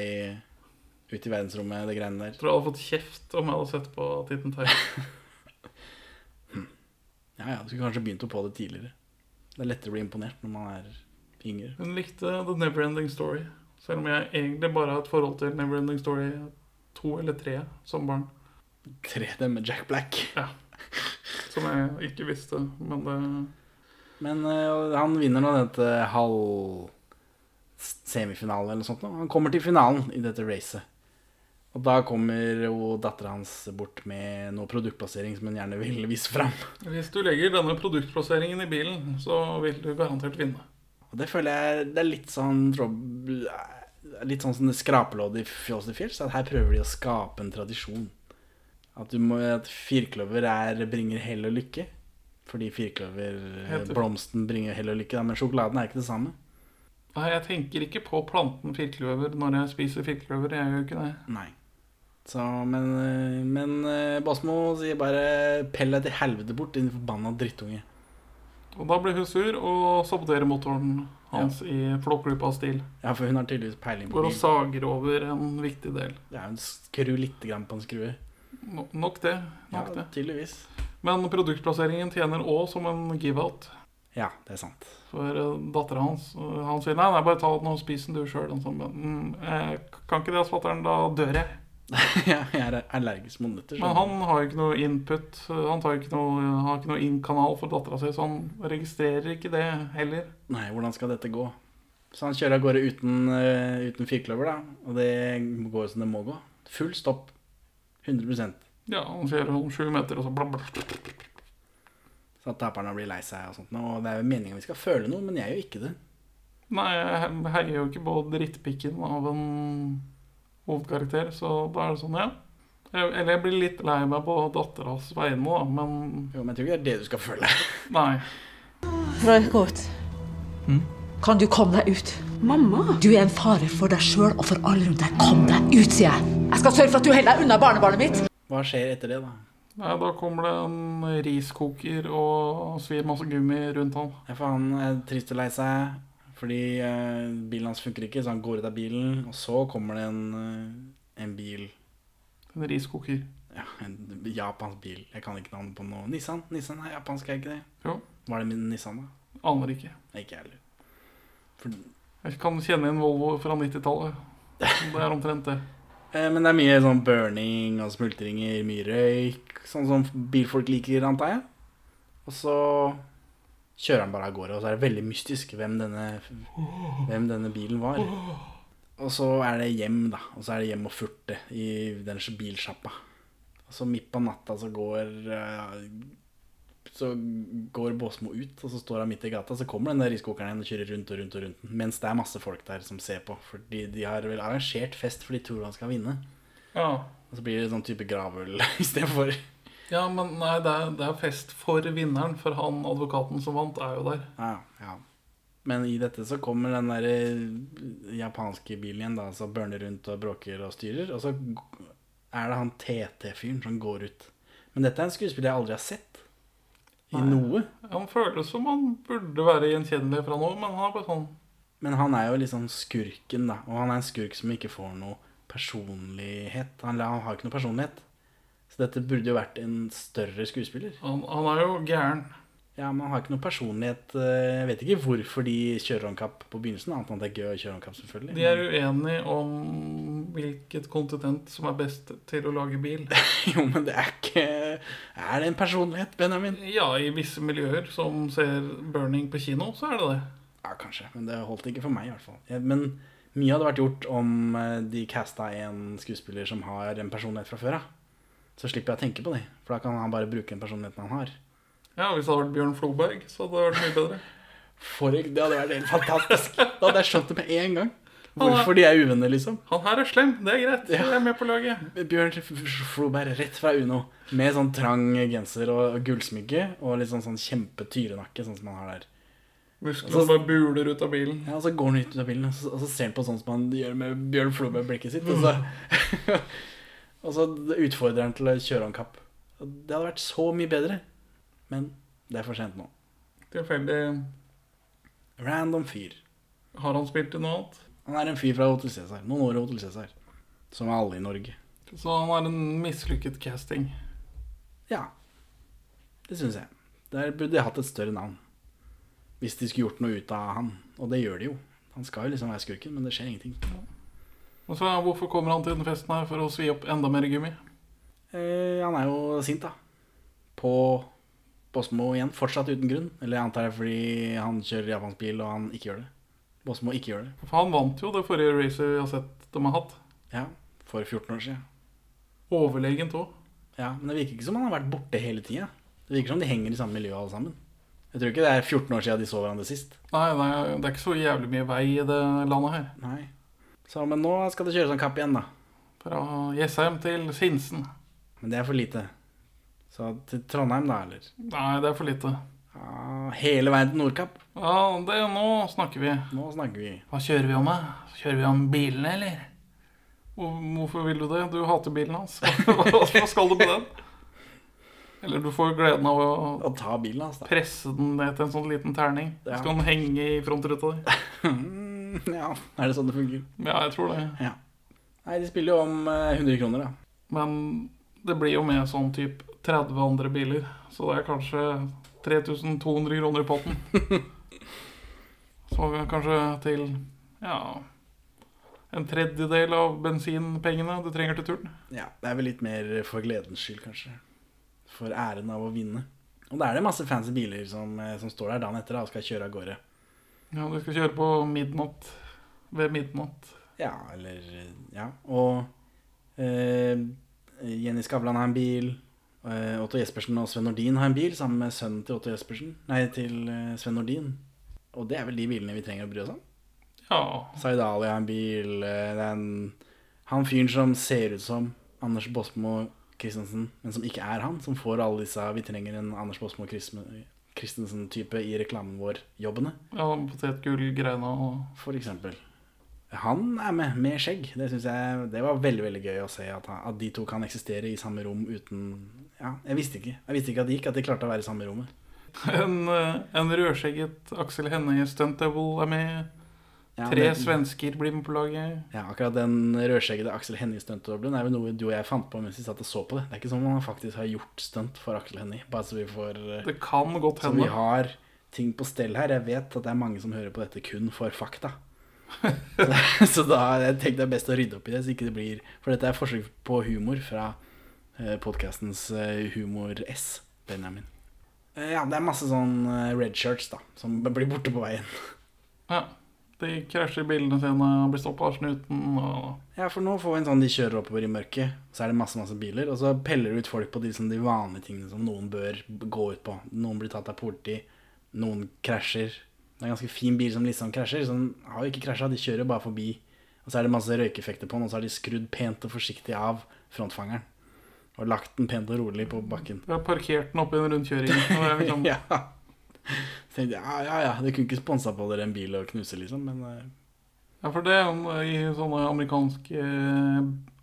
A: ut i verdensrommet, det greiene der.
B: Jeg tror jeg hadde fått kjeft om jeg hadde sett på Titten Tei.
A: Ja ja, du skulle kanskje begynt å på det tidligere. Det er lettere å bli imponert når man er yngre.
B: Hun likte The Neverending Story. Selv om jeg egentlig bare har et forhold til Neverending Story 2 eller 3 som barn.
A: Tre dem med Jack Black.
B: Som jeg ikke visste, men det
A: Men eh, han vinner nå dette halv semifinale eller noe sånt. nå. Han kommer til finalen i dette racet. Og da kommer jo dattera hans bort med noe produktplassering som hun gjerne vil vise fram.
B: Hvis du legger denne produktplasseringen i bilen, så vil du garantert vinne.
A: Og det føler jeg det er litt sånn trobb- Litt sånn som det skrapelodd i Fjols til fjells, at her prøver de å skape en tradisjon. At, du må, at firkløver er, bringer hell og lykke. Fordi
B: Helt-
A: firkløverblomsten bringer hell og lykke, da, men sjokoladen er ikke det samme.
B: Nei, jeg tenker ikke på planten firkløver når jeg spiser firkløver. Jeg gjør ikke det.
A: Nei. Så, men, eh, men eh, Basmo sier bare 'pell deg til helvete bort, din forbanna drittunge'.
B: Og da blir hun sur og saboterer motoren hans i flåklypa-stil.
A: Ja, for hun har tydeligvis peiling på
B: Går og
A: bil.
B: sager over en viktig del.
A: Ja, hun skrur litt grann på en skrue.
B: No- Nok det.
A: Ja,
B: nok det.
A: tydeligvis.
B: Men produktplasseringen tjener òg som en give-out.
A: Ja, det er sant.
B: For dattera hans eh, Han sier nei, nei, bare ta den og spis den du sjøl. Sånn, men, mm, jeg kan ikke det, fatter'n. Da dør jeg.
A: Ja, jeg er allergisk mot nøtter.
B: Men
A: så-
B: han har jo ikke noe input. Han tar jo ikke noe, han har ikke noe inn-kanal for dattera si, så han registrerer ikke det heller.
A: Nei, hvordan skal dette gå? Så han kjører av gårde uten, eh, uten firkløver, da. Og det går som det må gå. Full stopp. 100
B: Ja, Han kjører om sju meter, og så bla, bla, bla.
A: Så at taperne blir lei seg og sånt. Og det er jo meningen vi skal føle noe, men jeg gjør ikke det.
B: Nei, jeg heier jo ikke på drittpikken av en hovedkarakter, så da er det sånn, ja. Jeg- Eller jeg blir litt lei meg på datteras vegne, da, men
A: Jo, men jeg tror ikke det er det du skal føle.
B: nei.
I: Frøygot.
F: Mm.
I: Kan du komme deg ut? Mamma? Du er en fare for deg sjøl og for alle rundt deg. Kom deg ut, sier jeg. Jeg skal sørge for at du holder deg unna barnebarnet mitt.
A: Hva skjer etter det, da?
B: Nei, Da kommer det en riskoker og svir masse gummi rundt han.
A: Ja, for han er trist og lei seg, fordi eh, bilen hans funker ikke, så han går ut av bilen, og så kommer det en, eh, en bil,
B: En riskoker.
A: ja, en japansk bil, jeg kan ikke navnet på noe. Nissan, Nissan er japansk, er ikke det?
B: Jo.
A: Var det min Nissan da?
B: Aner ikke.
A: Nei, Ikke jeg heller.
B: Jeg kan kjenne igjen Volvo fra 90-tallet. Det er omtrent det.
A: Eh, men det er mye sånn burning og smultringer, mye røyk, sånn som bilfolk liker, antar jeg. Og så kjører han bare av gårde, og så er det veldig mystisk hvem denne, hvem denne bilen var. Og så er det hjem, da. Og så er det hjem og furte i den bilsjappa. Og så midt på natta så går eh, Så går Båsmo ut, og så står han midt i gata. Så kommer den der riskokeren igjen og kjører rundt og rundt og rundt. den, Mens det er masse folk der som ser på. For de, de har vel arrangert fest for de tror han skal vinne.
B: Ja,
A: Og så blir det sånn type gravøl istedenfor.
B: ja men nei, det er, det er fest for vinneren, for han advokaten som vant, er jo der.
A: Ja, ja. Men i dette så kommer den der eh, japanske bilen igjen, da, som burner rundt og bråker og styrer. Og så g- er det han TT-fyren som går ut. Men dette er en skuespiller jeg aldri har sett. I noe.
B: Han føles som han burde være gjenkjennelig fra nå, men han er bare sånn
A: Men han er jo liksom skurken, da. Og han er en skurk som ikke får noe personlighet. Han, han har ikke noe personlighet. Så dette burde jo vært en større skuespiller.
B: Han, han er jo gæren.
A: Ja, men han har ikke noe personlighet. eh, Jeg vet ikke hvorfor de kjører om kapp på begynnelsen, annet enn at det er gøy å kjøre om kapp, selvfølgelig.
B: De er uenige om hvilket kontinent som er best til å lage bil.
A: Jo, men det er ikke Er det en personlighet, Benjamin?
B: Ja, i visse miljøer som ser burning på kino, så er det det.
A: Ja, kanskje, men det holdt ikke for meg, i hvert fall. Ja, Men mye hadde vært gjort om eh, de casta en skuespiller som har en personlighet fra før av. Så slipper jeg å tenke på det, for da kan han bare bruke den personligheten han har.
B: Ja, Hvis det hadde vært Bjørn Floberg, så hadde det vært mye bedre.
A: For det hadde vært helt fantastisk. Da hadde jeg skjønt det med en gang. Hvorfor de er uvenner, liksom.
B: Han her er slem, det er greit. Jeg er med på laget.
A: Bjørn F- F- Floberg rett fra Uno, med sånn trang genser og gullsmykke og litt sånn, sånn kjempetyrenakke, sånn som han har der.
B: Musklene bare buler ut av bilen.
A: Ja, og så går han ut av bilen, og så, og så ser han på sånn som han gjør med Bjørn Flo med blikket sitt. Og så, og så utfordrer han til å kjøre om kapp. Og Det hadde vært så mye bedre. Men det er for sent nå.
B: Tilfeldig
A: Random fyr.
B: har han spilt i noe annet.
A: Han er en fyr fra Hotel Cæsar. Noen år i Hotel Cæsar. Som er alle i Norge.
B: Så han er en mislykket casting.
A: Ja. Det syns jeg. Der burde de hatt et større navn. Hvis de skulle gjort noe ut av han. Og det gjør de jo. Han skal jo liksom være skurken, men det skjer ingenting.
B: Og så ja, Hvorfor kommer han til den festen her for å svi opp enda mer gummi?
A: Eh, han er jo sint, da. På Båsmo igjen, fortsatt uten grunn. Eller jeg antar det er fordi han kjører japansk bil og han ikke gjør det. Båsmo ikke gjør det.
B: For han vant jo det forrige racet vi har sett dem har hatt.
A: Ja, for 14 år siden.
B: Overlegent òg.
A: Ja, men det virker ikke som han har vært borte hele tida. Det virker som de henger i samme miljø alle sammen. Jeg tror ikke det er 14 år siden de så hverandre sist.
B: Nei, nei, det er ikke så jævlig mye vei i det landet her.
A: Nei. Så, men nå skal det kjøres en kapp igjen, da.
B: Fra Jessheim til Sinsen.
A: Men det er for lite. Så til Trondheim, da, eller?
B: Nei, det er for lite.
A: Ja, hele veien til Nordkapp.
B: Ja, det, nå snakker vi.
A: Nå snakker vi.
B: Hva kjører vi om, da? Kjører vi om bilene, eller? Hvor- Hvorfor vil du det? Du hater bilen hans. Hva hva skal du med den? Eller du får gleden av å
A: Og ta bilen hans, da.
B: presse den ned til en sånn liten terning.
A: Ja.
B: Så kan den henge i frontruta di.
A: Mm, Ja, er det sånn det fungerer?
B: Ja, jeg tror det.
A: Nei, de spiller jo om eh, 100 kroner, da.
B: Men det blir jo med sånn typ 30 andre biler, så det er kanskje 3200 kroner i potten. Så kanskje til ja en tredjedel av bensinpengene du trenger til turen.
A: Ja, det er vel litt mer for gledens skyld, kanskje. For æren av å vinne. Og da er det masse fancy biler som, eh, som står der dagen etter da, og skal kjøre av gårde.
B: Ja, du skal kjøre på midnatt. Ved midnatt.
A: Ja, eller eh, Ja. Og eh, Jenny Skavlan har en bil. Eh, Otto Jespersen og Sven Nordin har en bil sammen med sønnen til Otto Jespersen. Nei, til eh, Sven Nordin. Og det er vel de bilene vi trenger å bry oss om.
B: Ja.
A: Zaid Ali har en bil. eh, Det er en, han fyren som ser ut som Anders Båsmo Christensen, men som ikke er han, som får alle disse 'vi trenger en Anders Båsmo Chrism- Christensen-type i reklamen vår'-jobbene,
B: ja Potetgull-greiene og
A: for eksempel. Han er med, med skjegg. Det synes jeg det var veldig veldig gøy å se at, han, at de to kan eksistere i samme rom uten Ja, jeg visste ikke Jeg visste ikke at det gikk, at de klarte å være i samme rommet.
B: En, eh, en rødskjegget Aksel Hennie-stuntdouble er med.
A: Ja,
B: Tre
A: men-
B: svensker blir med på laget.
A: Ja, akkurat den rødskjeggede Aksel Hennie-stuntdoblen er vel noe du og jeg fant på mens vi satt og så på det. Det er ikke som om han faktisk har gjort stunt for Aksel Hennie. Bare så vi får eh,
B: Det kan godt
A: Så vi
B: hende.
A: har ting på stell her. Jeg vet at det er mange som hører på dette kun for fakta. Så, så da jeg tenkte det er best å rydde opp i det, så ikke det blir For dette er forsøk på humor fra eh, podkastens Humor-S, Benjamin. Eh, Ja, det er masse sånn eh, red shirts, da, som blir borte på veien.
B: Ja. De krasjer bilene sine, blir stoppa av snuten og
A: Ja, for nå får vi en sånn de kjører oppover i mørket, så er det masse, masse biler, og så peller du ut folk på de, sånn, de vanlige tingene som noen bør b- gå ut på. Noen blir tatt av politi, noen krasjer. Det er en ganske fin bil som liksom krasjer, så den har jo ikke krasja, de kjører bare forbi. Og så er det masse røykeffekter på den, og så har de skrudd pent og forsiktig av frontfangeren. Og lagt den pent og rolig på bakken.
B: Vi har parkert den opp i en rundkjøring. Og det er liksom,
A: Ja. Så tenkte jeg, ja, ja, ja, du kunne ikke sponsa på dere en bil og knuse, liksom, men eh,
B: ja, for det er jo i sånne amerikanske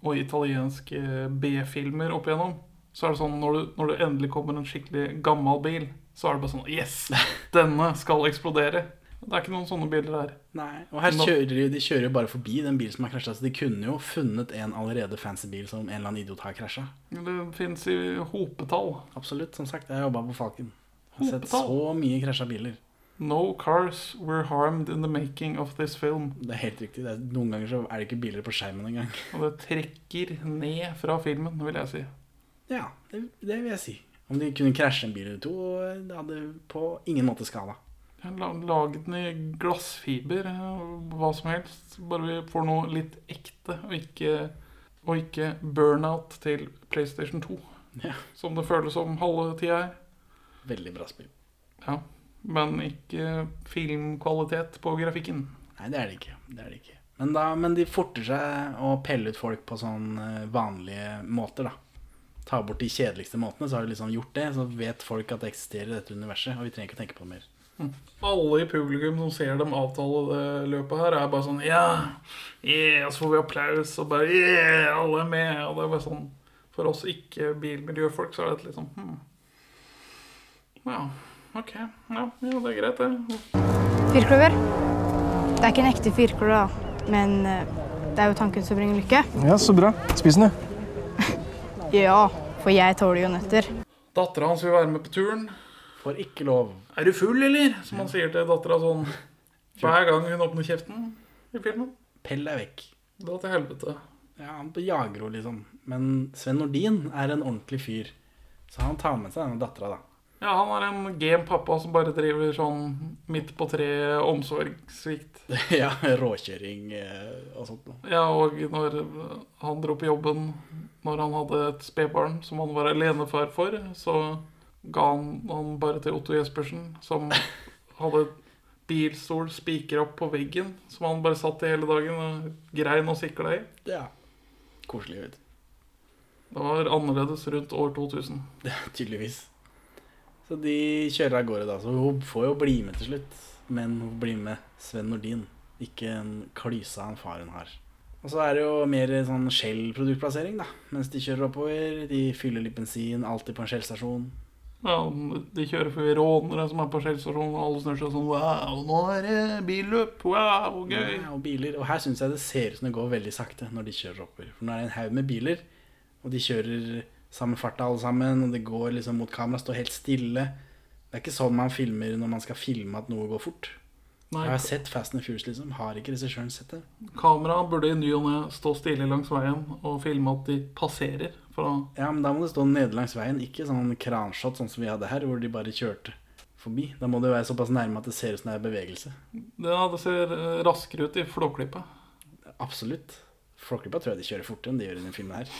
B: og italienske B-filmer opp igjennom, så er det sånn når du, når det endelig kommer en skikkelig gammel bil, så er det bare sånn Yes! Denne skal eksplodere. Det er ikke noen sånne biler her.
A: Nei, og her
B: Nå-
A: kjører de, de kjører jo bare forbi den bilen som har krasja, så de kunne jo funnet en allerede fancy bil som en eller annen idiot har krasja.
B: Det fins i hopetall.
A: Absolutt, som sagt. Jeg har jobba på Falken. Jeg har sett
B: Hopetall.
A: så mye krasja biler.
B: No cars were harmed in the making of this film.
A: Det er helt riktig. Det er, noen ganger så er det ikke biler på skjermen engang.
B: Og det trekker ned fra filmen, vil jeg si.
A: Ja, det, det vil jeg si. Om de kunne krasje en bil eller to, det hadde på ingen måte skada.
B: Lag den i glassfiber, eh, hva som helst. Bare vi får noe litt ekte, og ikke, og ikke burnout til PlayStation 2.
A: Ja.
B: Som det føles som halve tida er.
A: Veldig bra spill.
B: Ja. Men ikke filmkvalitet på grafikken.
A: Nei, det er det ikke. Det er det ikke. Men, da, men de forter seg å pelle ut folk på sånn eh, vanlige måter, da. Ta bort de kjedeligste måtene, så har de liksom gjort det. Så vet folk at det eksisterer i dette universet, og vi trenger ikke å tenke på det mer.
B: Alle i publikum som ser dem avtale det løpet her, er bare sånn Ja! Yeah, og så får vi applaus, og bare Yeah! Alle er med. Og det er bare sånn For oss ikke-bilmiljøfolk, så er det litt sånn hmm. Ja, OK. Ja, ja, det er greit, det.
K: Firkløver. Det er ikke en ekte firkløver, da. Men eh, det er jo tanken som bringer lykke.
F: Ja, så bra. Spis den, du.
K: Ja, for jeg tåler jo nøtter.
B: Dattera hans vil være med på turen.
A: Får ikke lov.
B: Er du full, eller? Som han sier til dattera sånn hver gang hun åpner kjeften i filmen.
A: Pell deg vekk.
B: Da til helvete.
A: Ja, han på jagro, liksom. Men Sven Nordin er en ordentlig fyr. Så han tar med seg denne dattera, da.
B: Ja, han er en gen pappa som bare driver sånn midt på treet omsorgssvikt.
A: ja, råkjøring eh, og sånt. Da.
B: Ja, og når han dro på jobben når han hadde et spedbarn som han var alenefar for, så ga han han bare til Otto Jespersen, som hadde bilstol spikra opp på veggen, som han bare satt i hele dagen og grein og sikla i.
A: Ja. Koselig. Vet.
B: Det var annerledes rundt år 2000.
A: du. Tydeligvis. Så de kjører av gårde, da. Så hun får jo bli med til slutt. Men hun blir med Sven Nordin, ikke en klyse av en far hun har. Og så er det jo mer sånn Shell-produktplassering, da. Mens de kjører oppover. De fyller litt bensin, alltid på en Shell-stasjon.
B: Ja, de kjører forbi rånere som er på Shell stasjon, og alle snur seg sånn Wow, nå er det billøp! Wow, gøy!
A: Ja, og biler. Og her syns jeg det ser ut som det går veldig sakte når de kjører oppover. For nå er det en haug med biler, og de kjører samme farta alle sammen, og det går liksom mot kamera, står helt stille. Det er ikke sånn man filmer når man skal filme at noe går fort.
B: Nei.
A: jeg har sett Fast and Furious, liksom. Har ikke regissøren sett det?
B: Kameraet burde i ny og ne stå stille langs veien og filme at de passerer. For å
A: Ja, men da må det stå nede langs veien, ikke sånn kranshot sånn som vi hadde her, hvor de bare kjørte forbi. Da må det være såpass nærme at det ser ut som det er bevegelse.
B: ja, det ser eh, raskere ut i Flåklypa.
A: Absolutt. Flåklypa tror jeg de kjører fortere enn de gjør i denne filmen her.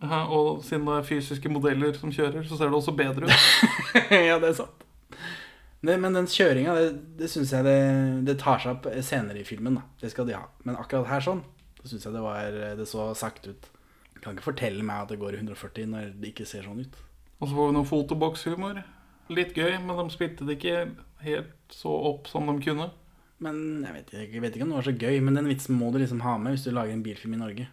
B: Ja, Og siden det er fysiske modeller som kjører, så ser det også bedre ut.
A: ja, det er sant. Nei, men den kjøringa, det, det syns jeg det, det tar seg opp senere i filmen. da Det skal de ha. Men akkurat her sånn, så syns jeg det, var, det så sakte ut. Du kan ikke fortelle meg at det går i 140 når det ikke ser sånn ut.
B: Og så får vi noe fotobokshumor. Litt gøy, men de spilte det ikke helt så opp som de kunne.
A: Men jeg vet, ikke- jeg vet ikke om det var så gøy, men den vitsen må du liksom ha med hvis du lager en bilfilm i Norge.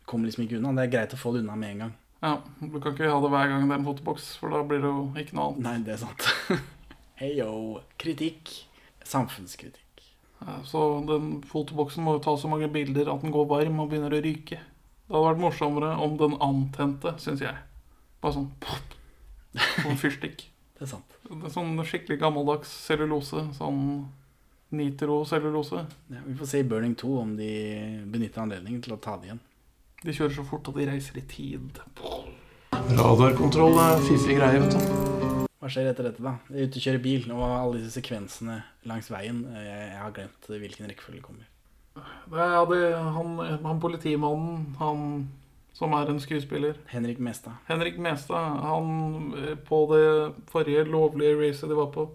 A: Du kommer liksom ikke unna. Det er greit å få det unna med en gang.
B: Ja, Du kan ikke ha det hver gang det er en fotoboks, for da blir det jo ikke noe annet.
A: Nei, det er sant. Hei yo. Kritikk. Samfunnskritikk.
B: Ja, Så den fotoboksen må jo ta så mange bilder at den går varm og begynner å ryke. Det hadde vært morsommere om den antente, syns jeg. Bare sånn pop, sånn fyrstikk.
A: Det er sant.
B: Det er sånn skikkelig gammeldags cellulose. Sånn nitrocellulose.
A: Ja, vi får se i Burning 2 om de benytter anledningen til å ta det igjen.
B: De kjører så fort at de reiser i tid.
A: Radarkontroll
B: er fiffig greie, vet du.
A: Hva skjer etter dette, da? De er ute og kjører bil, og alle disse sekvensene langs veien eh, Jeg, jeg har glemt hvilken rekkefølge det kommer.
B: Det er det, han, han politimannen, han som er en skuespiller
A: Henrik Mestad.
B: Henrik Mestad, han eh, på det forrige lovlige racet de var på,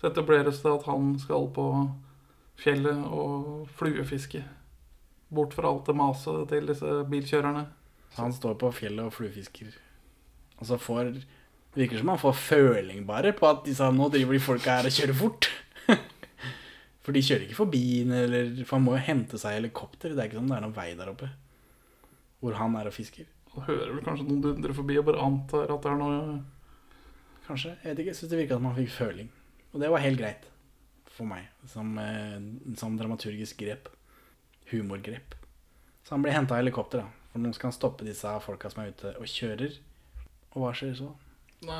B: så etableres det at han skal på fjellet og fluefiske. Bort fra alt det maset til disse bilkjørerne.
A: Så han står på fjellet og fluefisker. Og så får Det virker som han får føling bare på at disse nå driver de folka her og kjører fort. For de kjører ikke forbi den, eller For han må jo hente seg helikopter. Det er ikke som det er noen vei der oppe hvor han er og fisker.
B: Og hører vel kanskje noen dundre forbi og bare antar at det er noe
A: Kanskje. Jeg vet ikke. Jeg syns det virka som han fikk føling. Og det var helt greit for meg, som, eh, som dramaturgisk grep. Humorgrep. Så han blir henta av helikopter, da. For nå skal han stoppe disse folka som er ute og kjører. Og hva skjer så?
B: Nei,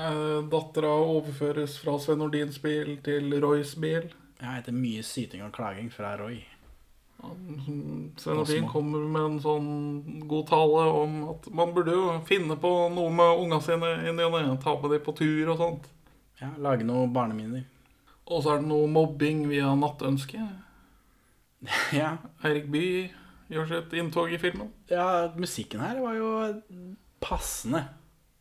B: Dattera overføres fra Sven Nordins bil til Roys bil.
A: Ja, etter mye syting og klaging fra Roy.
B: Sven Nordin kommer med en sånn god tale om at man burde jo finne på noe med unga sine i ny og ne. Ta med dem på tur og sånt.
A: Ja, Lage noen barneminner.
B: Og så er det noe mobbing via Nattønske.
A: ja.
B: Eirik Bye gjør sitt inntog i filmen.
A: Ja, musikken her var jo passende,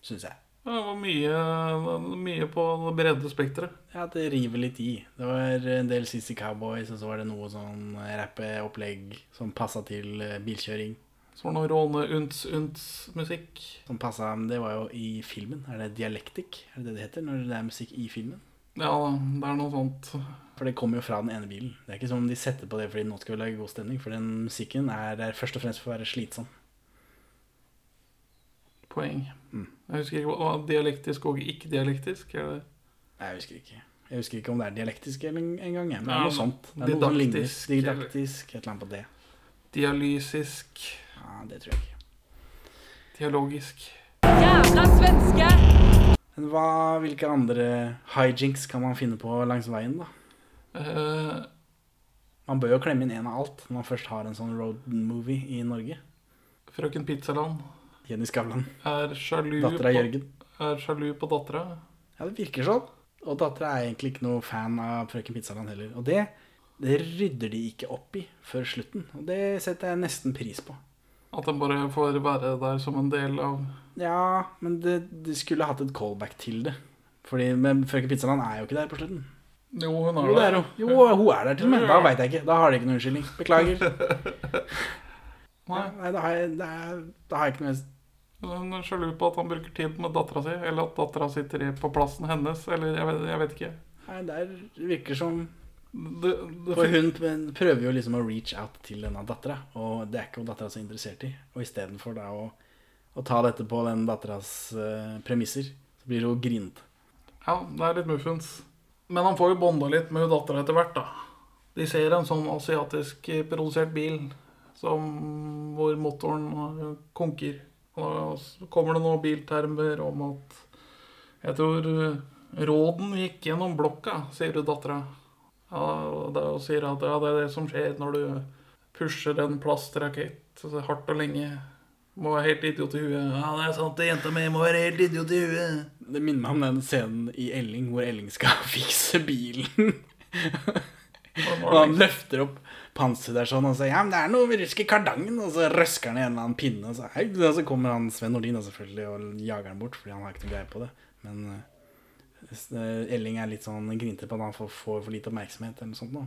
A: syns jeg.
B: Ja, Det var mye, mye på det brede spekteret.
A: Ja, at det river litt i. Det var en del CC Cowboys, og så var det noe sånn rappeopplegg som passa til eh, bilkjøring.
B: Så var det noe råne-unts-unts-musikk.
A: Som passa, men det var jo i filmen. Er det dialektikk? Er det det det heter når det er musikk i filmen?
B: Ja, det er noe sånt.
A: For det kommer jo fra den ene bilen. Det er ikke som om de setter på det fordi nå skal vi lage god stemning, for den musikken er der først og fremst for å være slitsom.
B: Poeng. Jeg husker ikke hva hva- dialektisk og ikke-dialektisk. er det?
A: Nei, jeg husker ikke. Jeg husker ikke om det er dialektisk en- en gang, jeg, men det
B: Ja,
A: er noe
B: men
A: sånt. Det er noe som ligner.
B: didaktisk, eller-
A: Didaktisk, et eller annet på det.
B: Dialysisk.
A: Ja, det tror jeg ikke.
B: Dialogisk.
I: Jævla svenske!
A: Men hva, hvilke andre hijinks kan man finne på langs veien, da?
B: Eh,
A: Man bør jo klemme inn en av alt når man først har en sånn road movie i Norge.
B: Frøken Pizzaland
A: Jenny Skavlan.
B: er sjalu
A: Dattera
B: på-
A: Jørgen.
B: er sjalu på dattera.
A: Ja, det virker sånn. Og dattera er egentlig ikke noe fan av frøken Pizzaland heller. Og det, det rydder de ikke opp i før slutten. Og det setter jeg nesten pris på.
B: At den bare får være der som en del av
A: Ja, men det, de skulle hatt et callback til det. Fordi, men frøken Pizzaland er jo ikke der på slutten.
B: Jo, hun
A: Jo, det er hun. Jo, hun er der til og med. Da veit jeg ikke. Da har de ikke noen unnskyldning. Beklager.
B: Nei.
A: Nei, da har jeg, da, da har jeg ikke noe
B: Hun er sjalu på at han bruker tid med dattera si, eller at dattera sitter i- på plassen hennes, eller jeg vet, jeg vet ikke.
A: Nei, der virker som
B: det,
A: For hun p- prøver jo liksom å reach out til denne dattera, og det er ikke hun dattera så interessert i. Og istedenfor da å, å ta dette på den datteras eh, premisser, så blir hun grint.
B: Ja, det er litt muffens. Men han får jo bonda litt med dattera etter hvert, da. De ser en sånn asiatisk eh, produsert bil som, hvor motoren eh, konker. Og da kommer det noen biltermer om at Jeg tror eh, råden gikk gjennom blokka, sier du dattera. Ja, og det- og sier at ja, det er det som skjer når du pusher en plastrakett så hardt og lenge. Må være helt idiot i huet. Ja, det er sant, det jenta mi må være helt idiot i huet.
A: Det minner meg om den scenen i Elling hvor Elling skal fikse bilen. og han løfter opp panseret der sånn og sier ja, men det er noe vi rusker i kardangen, og så røsker han i en eller annen pinne. Og så, «Hei», og så kommer han Sven Nordin da, selvfølgelig og jager han bort, fordi han har ikke noe greie på det. Men eh, s- eh, Elling er litt sånn grinte på at han får, får for lite oppmerksomhet eller noe sånt. Da.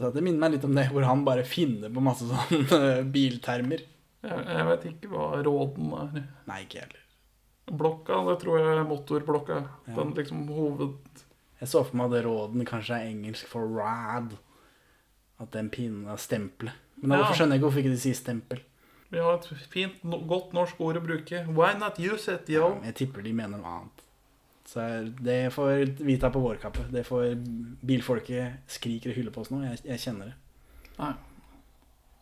A: Så det minner meg litt om det, hvor han bare finner på masse sånne eh, biltermer.
B: Jeg, jeg vet ikke hva råden er.
A: Nei, ikke jeg heller.
B: Blokka, det tror jeg er motorblokka. Den liksom hoved...
A: Jeg så for meg at råden kanskje er engelsk for rad. At den pinnen er stempelet. Men da
B: Ja.
A: hvorfor skjønner jeg ikke hvorfor ikke de sier stempel?
B: Vi har et fint, no, godt norsk ord å bruke. Why not use it, yo?
A: Jeg tipper de mener noe annet. Så er- det får vi ta på vår kappe. Det får bilfolket skriker og hyller på oss nå. Jeg, jeg kjenner det.
B: Nei.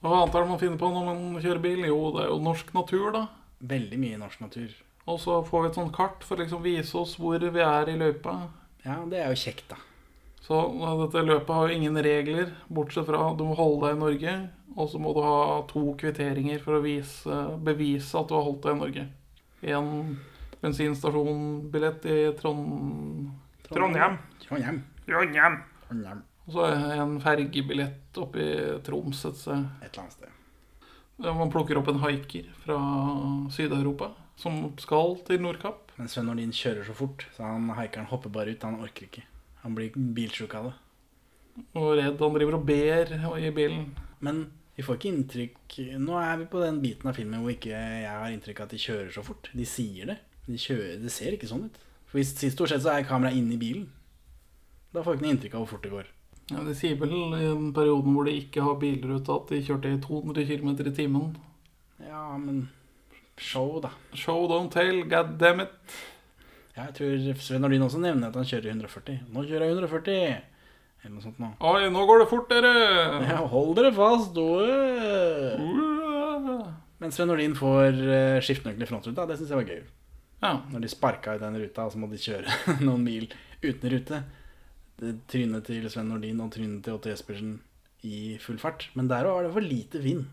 B: Hva annet er det man finner på når man kjører bil? Jo, det er jo norsk natur, da.
A: Veldig mye norsk natur.
B: Og så får vi et sånt kart for å liksom vise oss hvor vi er i løypa.
A: Ja, det er jo kjekt, da.
B: Så ja, dette løpet har jo ingen regler, bortsett fra du må holde deg i Norge, og så må du ha to kvitteringer for å vise, bevise at du har holdt deg i Norge. En bensinstasjonbillett i Trond... Trondheim.
A: Trondheim.
B: Trondheim.
A: Trondheim.
B: Og så en fergebillett oppe i Troms et sted.
A: Et eller annet sted.
B: Man plukker opp en haiker fra Syd-Europa som skal til Nordkapp.
A: Men Sven Nordin kjører så fort, så han haikeren hopper bare ut. Han orker ikke. Han blir bilsjuk av det.
B: Og redd han driver og ber i bilen.
A: Men vi får ikke inntrykk Nå er vi på den biten av filmen hvor ikke jeg har inntrykk av at de kjører så fort. De sier det. De kjører, det ser ikke sånn ut. For hvis, Stort sett så er kameraet inne i bilen. Da får vi ikke noe inntrykk av hvor fort det går.
B: Ja, De sier vel i den perioden hvor de ikke har bilrute, at de kjørte i 200 km i timen.
A: Ja, men show, da.
B: Show don't tell, god damn it.
A: Ja, jeg tror Sven Nordin også nevner at han kjører i 140. Nå kjører jeg 140! Eller noe sånt nå.
B: Oi, nå går det fort, dere!
A: Ja, hold dere fast! øh. Men Sven Nordin får eh, skiftenøkkel i frontruta. Det syns jeg var gøy.
B: Ja.
A: Når de sparka ut den ruta, så måtte de kjøre noen mil uten rute. Det- Trynet til Sven Nordin og trynet til Otto Jespersen i full fart. Men der òg var det for lite vind.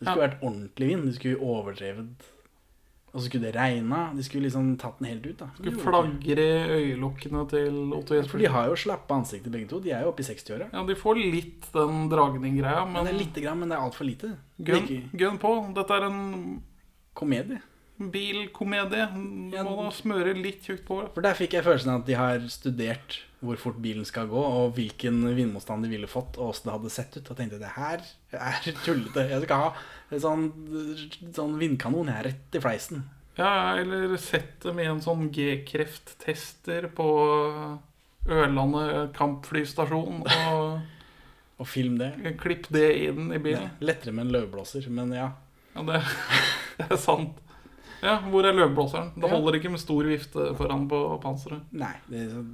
A: Det skulle
B: Ja.
A: vært ordentlig vind. Det skulle overdrevet. Og så skulle det regna. De skulle liksom tatt den helt ut. da. Men det
B: Skulle
A: gjorde de ikke.
B: flagre i øyelokkene til Otto
A: For de
B: Jesper.
A: har jo slappe ansikter begge to. De er jo oppe i 60-åra.
B: Ja, de får litt den dragning-greia, men
A: Men det er lite grann, men det er altfor lite. Det er
B: gønn,
A: ikke-
B: gønn på. Dette er en
A: Komedie.
B: bilkomedie. Du må da smøre litt tjukt på.
A: For der fikk jeg følelsen av at de har studert hvor fort bilen skal gå, og hvilken vindmotstand de ville fått, og åssen det hadde sett ut. Og tenkte det her er tullete. Jeg skal ha en sånn, sånn vindkanon her rett i fleisen.
B: Ja, eller sett dem i en sånn G-krefttester på Ørlandet kampflystasjon. Og,
A: og film det.
B: Klipp det inn i bilen.
A: Det er Lettere med en løvblåser, men ja.
B: Ja, det, det er sant. Ja, hvor er løvblåseren? Det
A: Ja.
B: holder ikke med stor vifte foran på panseret.
A: Nei, det er sånn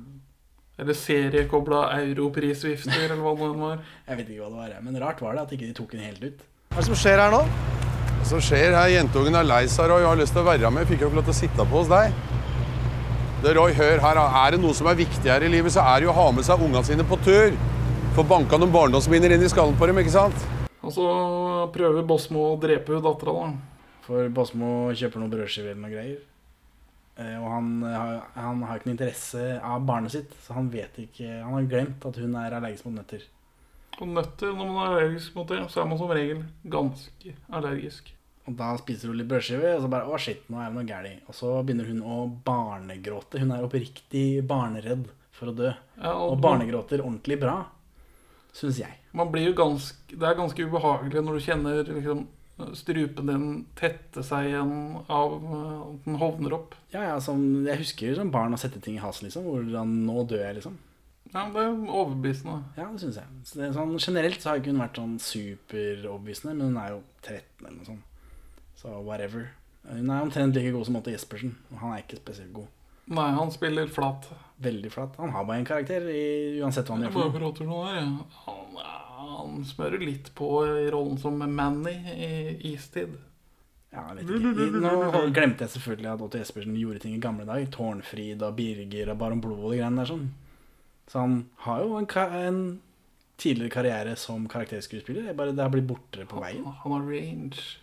B: Eller seriekobla europrisvifter, eller hva det nå var.
A: Jeg vet ikke hva det var, jeg, men rart var det at ikke de tok den helt ut.
H: Hva er det som skjer her nå? Hva som skjer her? Jentungen er lei seg, Roy. og Har lyst til å være med. Fikk jo ikke lov til å sitte på hos deg. Det, Roy, hør her. da. Er det noe som er viktig her i livet, så er det jo å ha med seg ungene sine på tur. Få banka noen barndomsminner inn i skallen på dem, ikke sant?
B: Og så prøver Bosmo å drepe hun dattera, da.
A: For Basmo kjøper noen brødskiver eller noe greier. Eh, Og han, eh, har- han har ikke noe interesse av barnet sitt, så han vet ikke Han har glemt at hun er allergisk mot nøtter.
B: Og nøtter, når man er allergisk mot det, så er man som regel ganske allergisk.
A: Og da spiser hun litt brødskive, og så bare Å, shit, nå er det noe gærent. Og så begynner hun å barnegråte. Hun er oppriktig barneredd for å dø.
B: Ja,
A: og,
B: og-
A: barnegråter ordentlig bra, syns jeg.
B: Man blir jo ganske, det er ganske ubehagelig når du kjenner liksom, strupen din tette seg igjen av eh, at den hovner opp.
A: Ja, ja, som, Jeg husker jo som barn å sette ting i halsen, liksom. Hvordan Nå dør jeg, liksom.
B: Ja, men det er overbevisende.
A: Ja, det syns jeg. Så det er sånn, generelt så har ikke hun vært sånn superoverbevisende, men hun er jo 13 eller noe sånt. Så whatever. Hun er omtrent like god som Åtte Jespersen, og han er ikke spesielt god.
B: Nei, han spiller flat.
A: Veldig flat. Han har bare en karakter, i, uansett hva han
B: Jeg
A: gjør.
B: bare
A: for noe.
B: prater nå her, ja. han, han smører litt på i rollen som Manny i Istid.
A: Ja, jeg vet ikke. I- Nå glemte jeg selvfølgelig at Otto Jespersen gjorde ting i gamle dager. Tårnfrid og Birger og Baron Blod og de greiene der sånn. Så han har jo en, ka- en tidligere karriere som karakterskuespiller. det er Bare det har blitt borte på veien.
B: Han har range.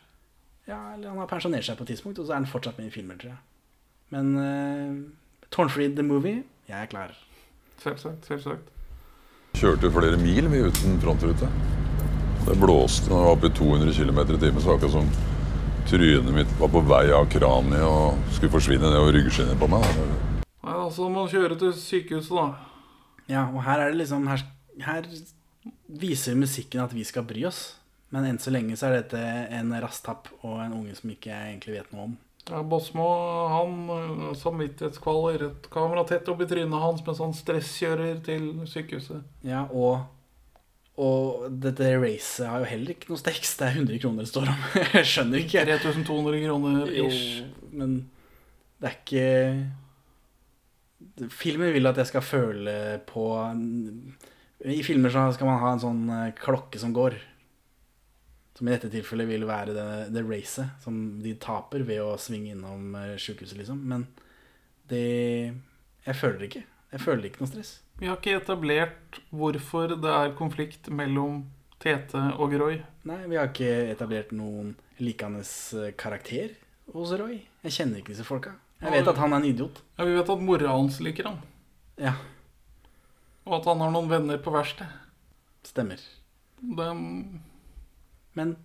A: Ja, eller han har pensjonert seg på et tidspunkt, og så er han fortsatt med i filmer, tror jeg. Men uh, Tårnfrid the Movie, jeg er klar.
B: Selvsagt, selvsagt.
L: Kjørte flere mil vi uten frontrute. Det blåste når det var oppe i 200 km i timen. Så det var akkurat som trynet mitt var på vei av kraniet og skulle forsvinne nedover ryggskinnet på meg. da.
B: Nei, altså, man kjører til sykehuset, da.
A: Ja, og her er det liksom Her, her viser musikken at vi skal bry oss. Men enn så lenge så er dette en rasstapp og en unge som ikke jeg egentlig vet noe om.
B: Ja, Båsmo han eh, samvittighetskvaler et kamera tett opp i trynet hans mens han stresskjører til sykehuset.
A: Ja, og og dette racet har jo heller ikke noe stekst. Det er 100 kroner det står om. Jeg skjønner ikke.
B: 3200 kroner ish.
A: Jo, men det er ikke Filmen vil at jeg skal føle på I filmer så skal man ha en sånn eh, klokke som går. Som i dette tilfellet vil være det, det racet som de taper ved å svinge innom eh, sykehuset, liksom. Men det Jeg føler det ikke. Jeg føler ikke noe stress.
B: Vi har ikke etablert hvorfor det er konflikt mellom Tete og Roy.
A: Nei, vi har ikke etablert noen likende eh, karakter hos Roy. Jeg kjenner ikke disse folka. Jeg vet at han er en idiot.
B: Ja, Vi vet at mora hans liker han.
A: Ja.
B: Og at han har noen venner på verkstedet.
A: Stemmer.
B: Dem-
A: Men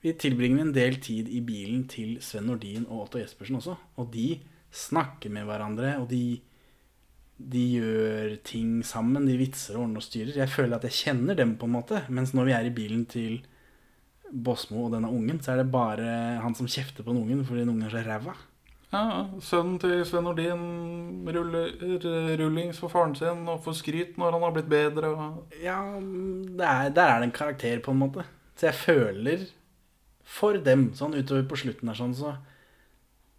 A: vi tilbringer en del tid i bilen til Sven Nordin og Otto Jespersen også. Og de snakker med hverandre, og de, de gjør ting sammen. De vitser og ordner og styrer. Jeg føler at jeg kjenner dem, på en måte. Mens når vi er i bilen til Båsmo og denne ungen, så er det bare han som kjefter på den ungen fordi den ungen er så ræva.
B: Ja, Sønnen til Sven Nordin ruller r- rullings for faren sin og får skryt når han har blitt bedre. Og...
A: Ja, det er, der er det en karakter, på en måte. Så jeg føler for dem, sånn utover på slutten der, sånn, så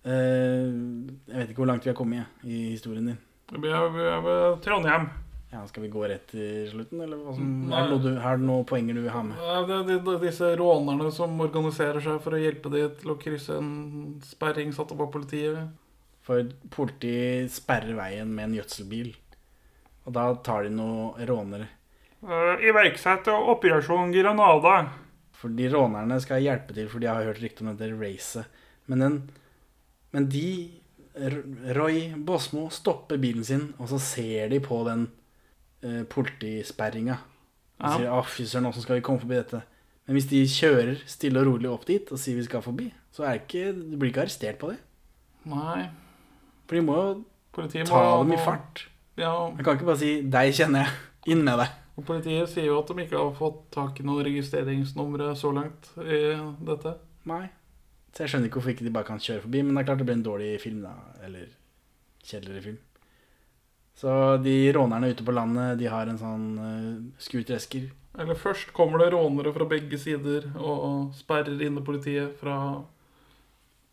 A: eh, Jeg vet ikke hvor langt vi har kommet jeg, i historien din.
B: Vi er vi er ved Trondheim.
A: Ja, Skal vi gå rett til slutten, eller hva som
B: Mm,
A: er det noe du, er det noen poenger du vil ha med?
B: Ja, Det er de, de, disse rånerne som organiserer seg for å hjelpe de til å krysse en sperring satt opp av politiet.
A: For politiet sperrer veien med en gjødselbil, og da tar de noen rånere.
B: Iverksette Eh, operasjon Granada.
A: For de rånerne skal hjelpe til, for de har hørt rykte om dette racet. Men, den, men de, R- Roy Båsmo, stopper bilen sin, og så ser de på den eh, politisperringa. Og
B: Ja.
A: sier 'Å, fy søren, åssen skal vi komme forbi dette?' Men hvis de kjører stille og rolig opp dit og sier vi skal forbi, så er det ikke, de blir ikke arrestert på det.
B: Nei.
A: For de må jo
B: Politiet
A: ta
B: må-
A: dem i
B: må-
A: fart.
B: Ja,
A: Jeg kan ikke bare si 'deg kjenner jeg', inn med deg.
B: og Politiet sier jo at de ikke har fått tak i noen registreringsnumre så langt i dette.
A: Nei. Så jeg skjønner ikke hvorfor ikke de bare kan kjøre forbi, men det er klart det blir en dårlig film, da. Eller kjedeligere film. Så de rånerne ute på landet, de har en sånn uh, scooteresker.
B: Eller først kommer det rånere fra begge sider og sperrer inne politiet fra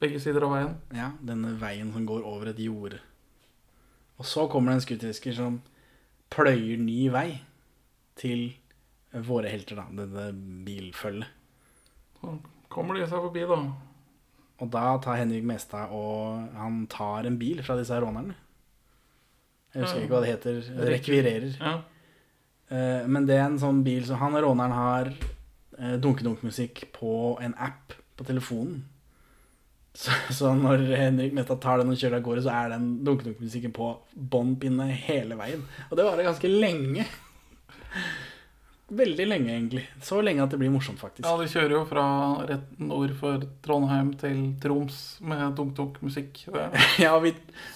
B: begge sider av veien.
A: Ja, denne veien som går over et jorde. Og så kommer det en scooteresker som pløyer ny vei til våre helter, da. Dette bilfølget.
B: Kommer de seg forbi, da?
A: Og da tar Henrik Mestad og han tar en bil fra disse her rånerne. Jeg husker ikke hva det heter. Rekvirerer. Eh, Men det er en sånn bil som han råneren har eh, dunkedunk-musikk på en app på telefonen. Så, så når Henrik Metta tar den og kjører av gårde, så er den dunkedunk-musikken på bånn pinne hele veien. Og det varer ganske lenge. Veldig lenge, egentlig. Så lenge at det blir morsomt, faktisk.
B: Ja, de kjører jo fra rett nord for Trondheim til Troms med dunk-dunk-musikk.
A: Ja, og vi,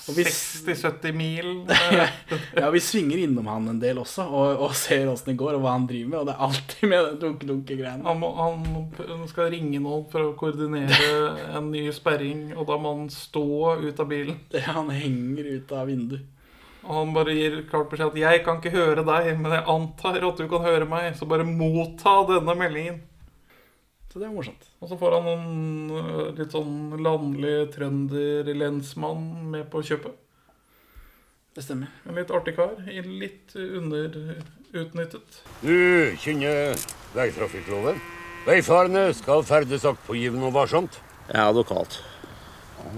A: og vi
B: 60-70 mil.
A: ja, ja, vi svinger innom han en del også, og, og ser åssen det går, og hva han driver med. Og det er alltid med den dunke-dunke-greiene.
B: Han, må- han p- skal ringe noen for å koordinere en ny sperring, og da må han stå ut av bilen.
A: Han henger ut av vinduet.
B: Og han bare gir klart beskjed at 'jeg kan ikke høre deg, men jeg antar at du kan høre meg', så bare motta denne meldingen.
A: Så det er morsomt.
B: Og så får han en ø, litt sånn landlig trønderlensmann med på kjøpet.
A: Det stemmer.
B: En litt artig kar. i Litt underutnyttet.
M: Du kjenner veitrafikkloven? Veifarende skal ferdes aktpågivende og varsomt. Ja, lokalt.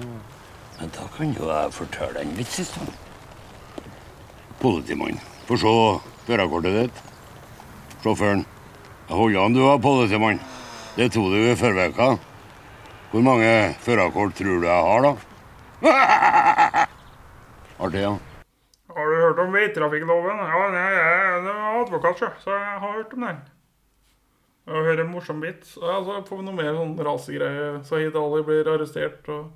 M: Men da kan jo jeg fortelle en vits i stund. Politimann, få se førerkortet ditt. Sjåføren. Jeg holder an, du, da, politimann. Det tok du i forrige uke. Hvor mange førerkort tror du jeg har, da? Artig, ja.
B: Har du hørt om veitrafikkloven? Ja, jeg er advokat, så jeg har hørt om den. Jeg hører en morsom vits. Ja, så får vi noe mer sånn rasegreie. Sahid Ali blir arrestert og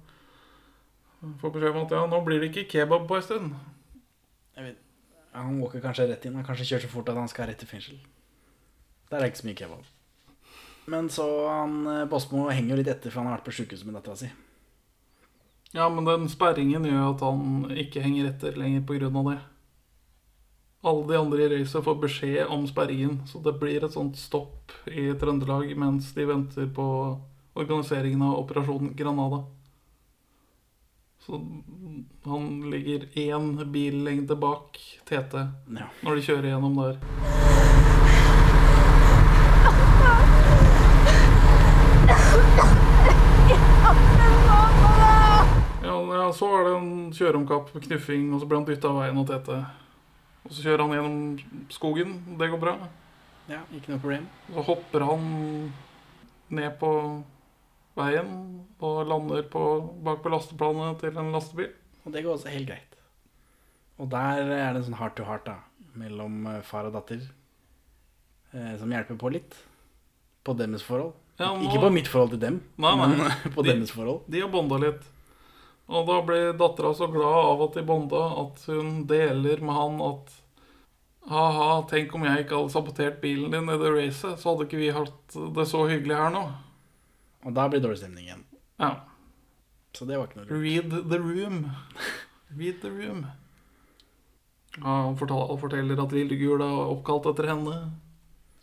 B: får beskjed om at ja, nå blir det ikke kebab på en stund.
A: Jeg vet, han walker kanskje rett inn. Han kanskje kjører så fort at han skal rett til fengsel. Der er det ikke så mye kebab. Men så han, eh, Båsmo henger jo litt etter, for han har vært på sjukehuset med dattera si.
B: Ja, men den sperringen gjør at han ikke henger etter lenger pga. det. Alle de andre i racet får beskjed om sperringen, så det blir et sånt stopp i Trøndelag mens de venter på organiseringen av Operasjon Granada. Så han ligger én billengde bak TT når de kjører gjennom der. Ja, ja, så er det en kjøreomkapp med knuffing, og så blir han dytta av veien av Tete. Og så kjører han gjennom skogen. Det går bra.
A: Ja, ikke noe problem.
B: Og så hopper han ned på veien og lander på, bak på lasteplanet til en lastebil.
A: Og det går også helt greit. Og der er det en sånn heart to heart da, mellom eh, far og datter, eh, som hjelper på litt. På deres forhold.
B: Ja, nå-
A: Ikke på mitt forhold til dem,
B: Nei, nei.
A: men på
B: De-
A: deres forhold.
B: De har bonda litt. Og da blir dattera så glad av at de bonda, at hun deler med han at Ha-ha, tenk om jeg ikke hadde sabotert bilen din i det racet, så hadde ikke vi hatt det så hyggelig her nå.
A: Og da blir det dårlig stemning igjen.
B: Ja.
A: Så det var ikke noe lurt.
B: Read the room. Read the room. Ja, han fortal- han forteller at Lillegul er oppkalt etter henne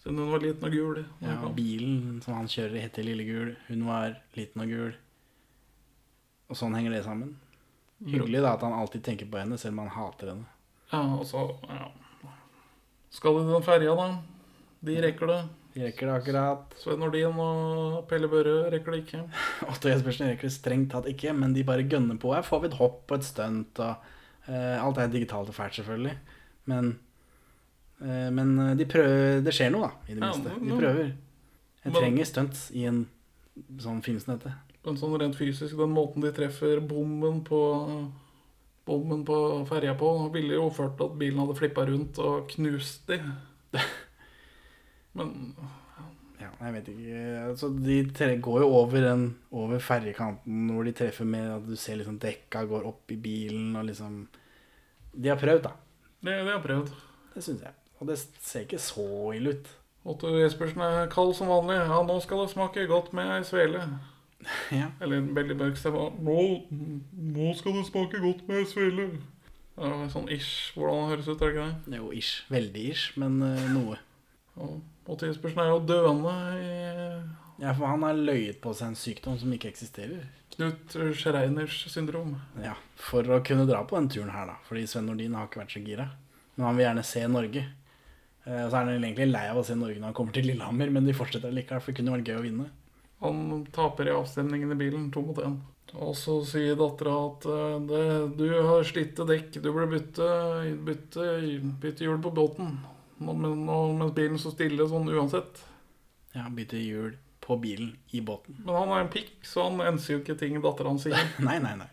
B: siden hun var liten og gul. når
A: Ja,
B: hun kom.
A: bilen som han kjører i heter Lille Gul. Hun var liten og gul. Og sånn henger det sammen. Hyggelig da at han alltid tenker på henne, selv om han hater henne.
B: Ja, og så ja. skal de den ferja, da. De rekker det.
A: De rekker det akkurat.
B: Svein Nordin og Pelle Børre rekker det ikke.
A: Otto Jespersen rekker det strengt tatt ikke, men de bare gønner på. Her får vi et hopp og et stunt, og eh, alt er digitalt og fælt, selvfølgelig. Men, eh, men eh, de prøver, det skjer noe, da, i det
B: Ja,
A: minste.
B: nå-
A: De prøver. Jeg
B: Men-
A: trenger stunts i en sånn film som dette.
B: Men sånn rent fysisk, den måten de treffer bommen på Bommen på ferja på, ville jo ført til at bilen hadde flippa rundt og knust de. Men
A: Ja, jeg vet ikke altså, De tre- går jo over, den, over ferjekanten hvor de treffer med at du ser liksom dekka går opp i bilen og liksom De har prøvd, da.
B: det, det har jeg prøvd.
A: Det syns jeg. Og det ser ikke så ille ut.
B: Otto Jespersen er kald som vanlig. Ja, nå skal det smake godt med ei svele.
A: Ja.
B: Eller en veldig mørk stemme. Nå, nå skal det smake godt med ei svele. Det er sånn ish hvordan det høres ut, er det ikke det?
A: Jo, ish. Veldig ish, men eh, noe.
B: Otto Jespersen er jo døende i
A: Ja, for han har løyet på seg en sykdom som ikke eksisterer.
B: Knut Schreiners syndrom.
A: Ja, For å kunne dra på den turen her, da. Fordi Sven Nordin har ikke vært så gira. Men han vil gjerne se Norge. Eh, Og så er han egentlig lei av å se Norge når han kommer til Lillehammer, men de fortsetter likevel, for det kunne vært gøy å vinne.
B: Han taper i avstemningen i bilen, to mot én. Og så sier dattera at eh, det, 'du har slitte dekk, du burde bytte, bytte, bytte hjul på båten'. Nå, men, nå, mens bilen står stille sånn uansett.
A: Ja, bytte hjul på bilen i båten.
B: Men han er en pikk, så han enser jo ikke ting dattera hans sier.
A: nei, nei, nei.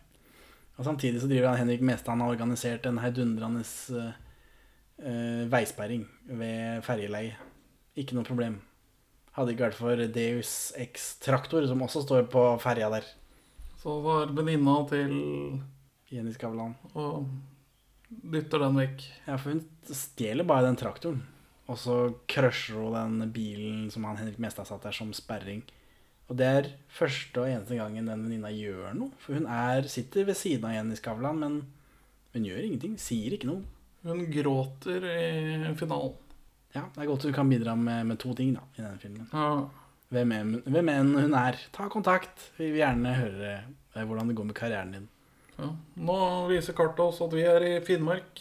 A: Og samtidig så driver han Henrik Mestad Han har organisert en heidundrende eh, eh, veisperring ved ferjeleiet. Ikke noe problem. Hadde ikke vært for Deus X Traktor, som også står på ferja der.
B: Så var venninna til
A: Jenny Skavlan.
B: Og dytter den vekk.
A: Ja, for hun stjeler bare den traktoren. Og så crusher hun den bilen som han Henrik Mestad satt der som sperring. Og det er første og eneste gangen den venninna gjør noe. For hun er, sitter ved siden av Jenny Skavlan, men hun gjør ingenting. Sier ikke noe.
B: Hun gråter i finalen.
A: Ja, det er godt du kan bidra med, med to ting da, i denne filmen.
B: Ja.
A: Hvem, er, hvem enn hun er, ta kontakt. Vi vil gjerne høre eh, hvordan det går med karrieren din.
B: Ja. Nå viser kartet oss at vi er i Finnmark.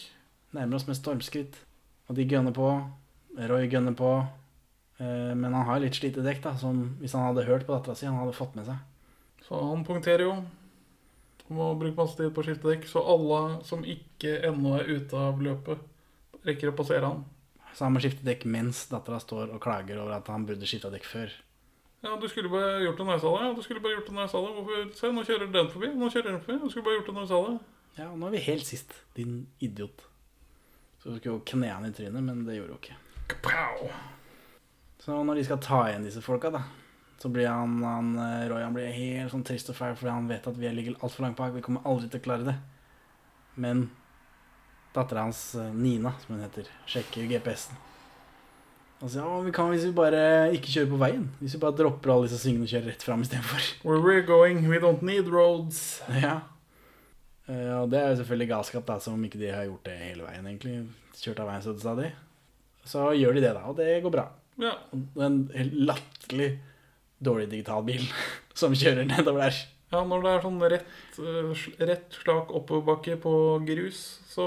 A: Nærmer oss med stormskritt. Og de gønner på. Roy gønner på. Eh, Men han har litt slite dekk, da, som hvis han hadde hørt på dattera si, han hadde fått med seg.
B: Så han punkterer jo. Han Må bruke masse tid på å skifte dekk. Så alle som ikke ennå er ute av løpet, rekker å passere han.
A: Så han må skifte dekk mens dattera står og klager over at han burde skifta dekk før.
B: Ja, du skulle bare gjort det når jeg sa det. Ja, du skulle bare gjort det når jeg sa det. Hvorfor? Se, nå kjører den forbi. Nå kjører den forbi. Du skulle bare gjort det når jeg sa det.
A: Ja, og nå er vi helt sist, din idiot. Så hun skulle jo kne han i trynet, men det gjorde hun ikke. Så når de skal ta igjen disse folka, da, så blir han, han eh, Roy han blir helt sånn trist og fæl fordi han vet at vi ligger altfor langt bak. Vi kommer aldri til å klare det. Men dattera hans, eh, Nina, som hun heter, sjekker GPS-en. Og sier ja, vi kan hvis vi bare ikke kjører på veien. Hvis vi bare dropper alle disse svingene og kjører rett fram istedenfor.
B: Where we're going, we don't need roads.
A: Ja. Eh, Og det er jo selvfølgelig galskap, da, som om ikke de har gjort det hele veien, egentlig. Kjørt av veien så stadig. Så gjør de det, da, og det går bra.
B: Ja.
A: Og det er En helt latterlig dårlig digital bil som kjører nedover der.
B: Ja, når det er sånn rett, eh, sl- rett slak oppoverbakke på grus, så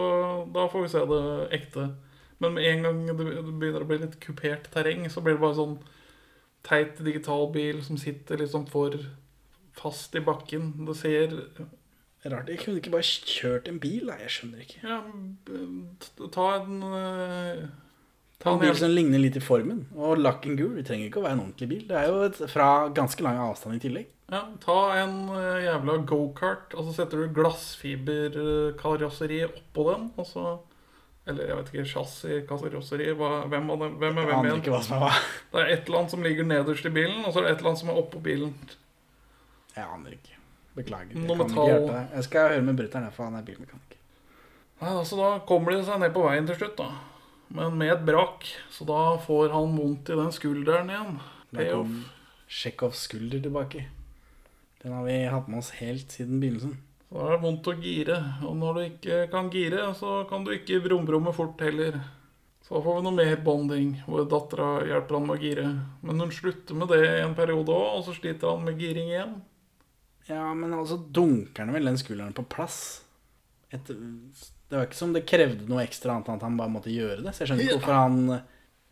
B: da får vi se det ekte. Men med en gang det det begynner å bli litt kupert terreng, så blir det bare sånn teit digital bil som sitter liksom for fast i bakken. Det ser
A: Rart de kunne ikke bare kjørt en bil, da. Jeg skjønner ikke.
B: Ja, b- t- ta en eh,
A: Ta en bil
B: hel-
A: som ligner litt i formen. Og lakk en gul. Det trenger ikke å være en ordentlig bil. Det er jo et, fra ganske lang avstand i tillegg.
B: Ja, ta en eh, jævla gokart, og så setter du glassfiberkarosseri oppå den. Og så, eller jeg vet ikke, chassiskarosseri hva- Hvem, av dem- hvem er
A: Jeg
B: hvem
A: aner
B: igjen?
A: ikke hva som er hva.
B: Det er et eller annet som ligger nederst i bilen, og så er det et eller annet som er oppå bilen.
A: Jeg aner ikke. Beklager. Jeg
B: Noe
A: kan ikke
B: metall.
A: hjelpe deg. Jeg skal høre med brutter'n, for han er bilmekaniker.
B: Nei, altså Da kommer de seg ned på veien til slutt, da. Men med et brak. Så da får han vondt i den skulderen igjen.
A: Der
B: Payoff.
A: kom Tsjekhovs skulder tilbake. Den har vi hatt med oss helt siden begynnelsen.
B: Så da er det vondt å gire. Og når du ikke kan gire, så kan du ikke brumromme fort heller. Så da får vi noe mer bonding, hvor dattera hjelper han med å gire. Men hun slutter med det i en periode òg, og så sliter han med giring igjen.
A: Ja, men altså dunker den vel den skulderen på plass. Et, det var ikke som det krevde noe ekstra annet enn at han bare måtte gjøre det. Så jeg skjønner ikke
B: Ja.
A: hvorfor han,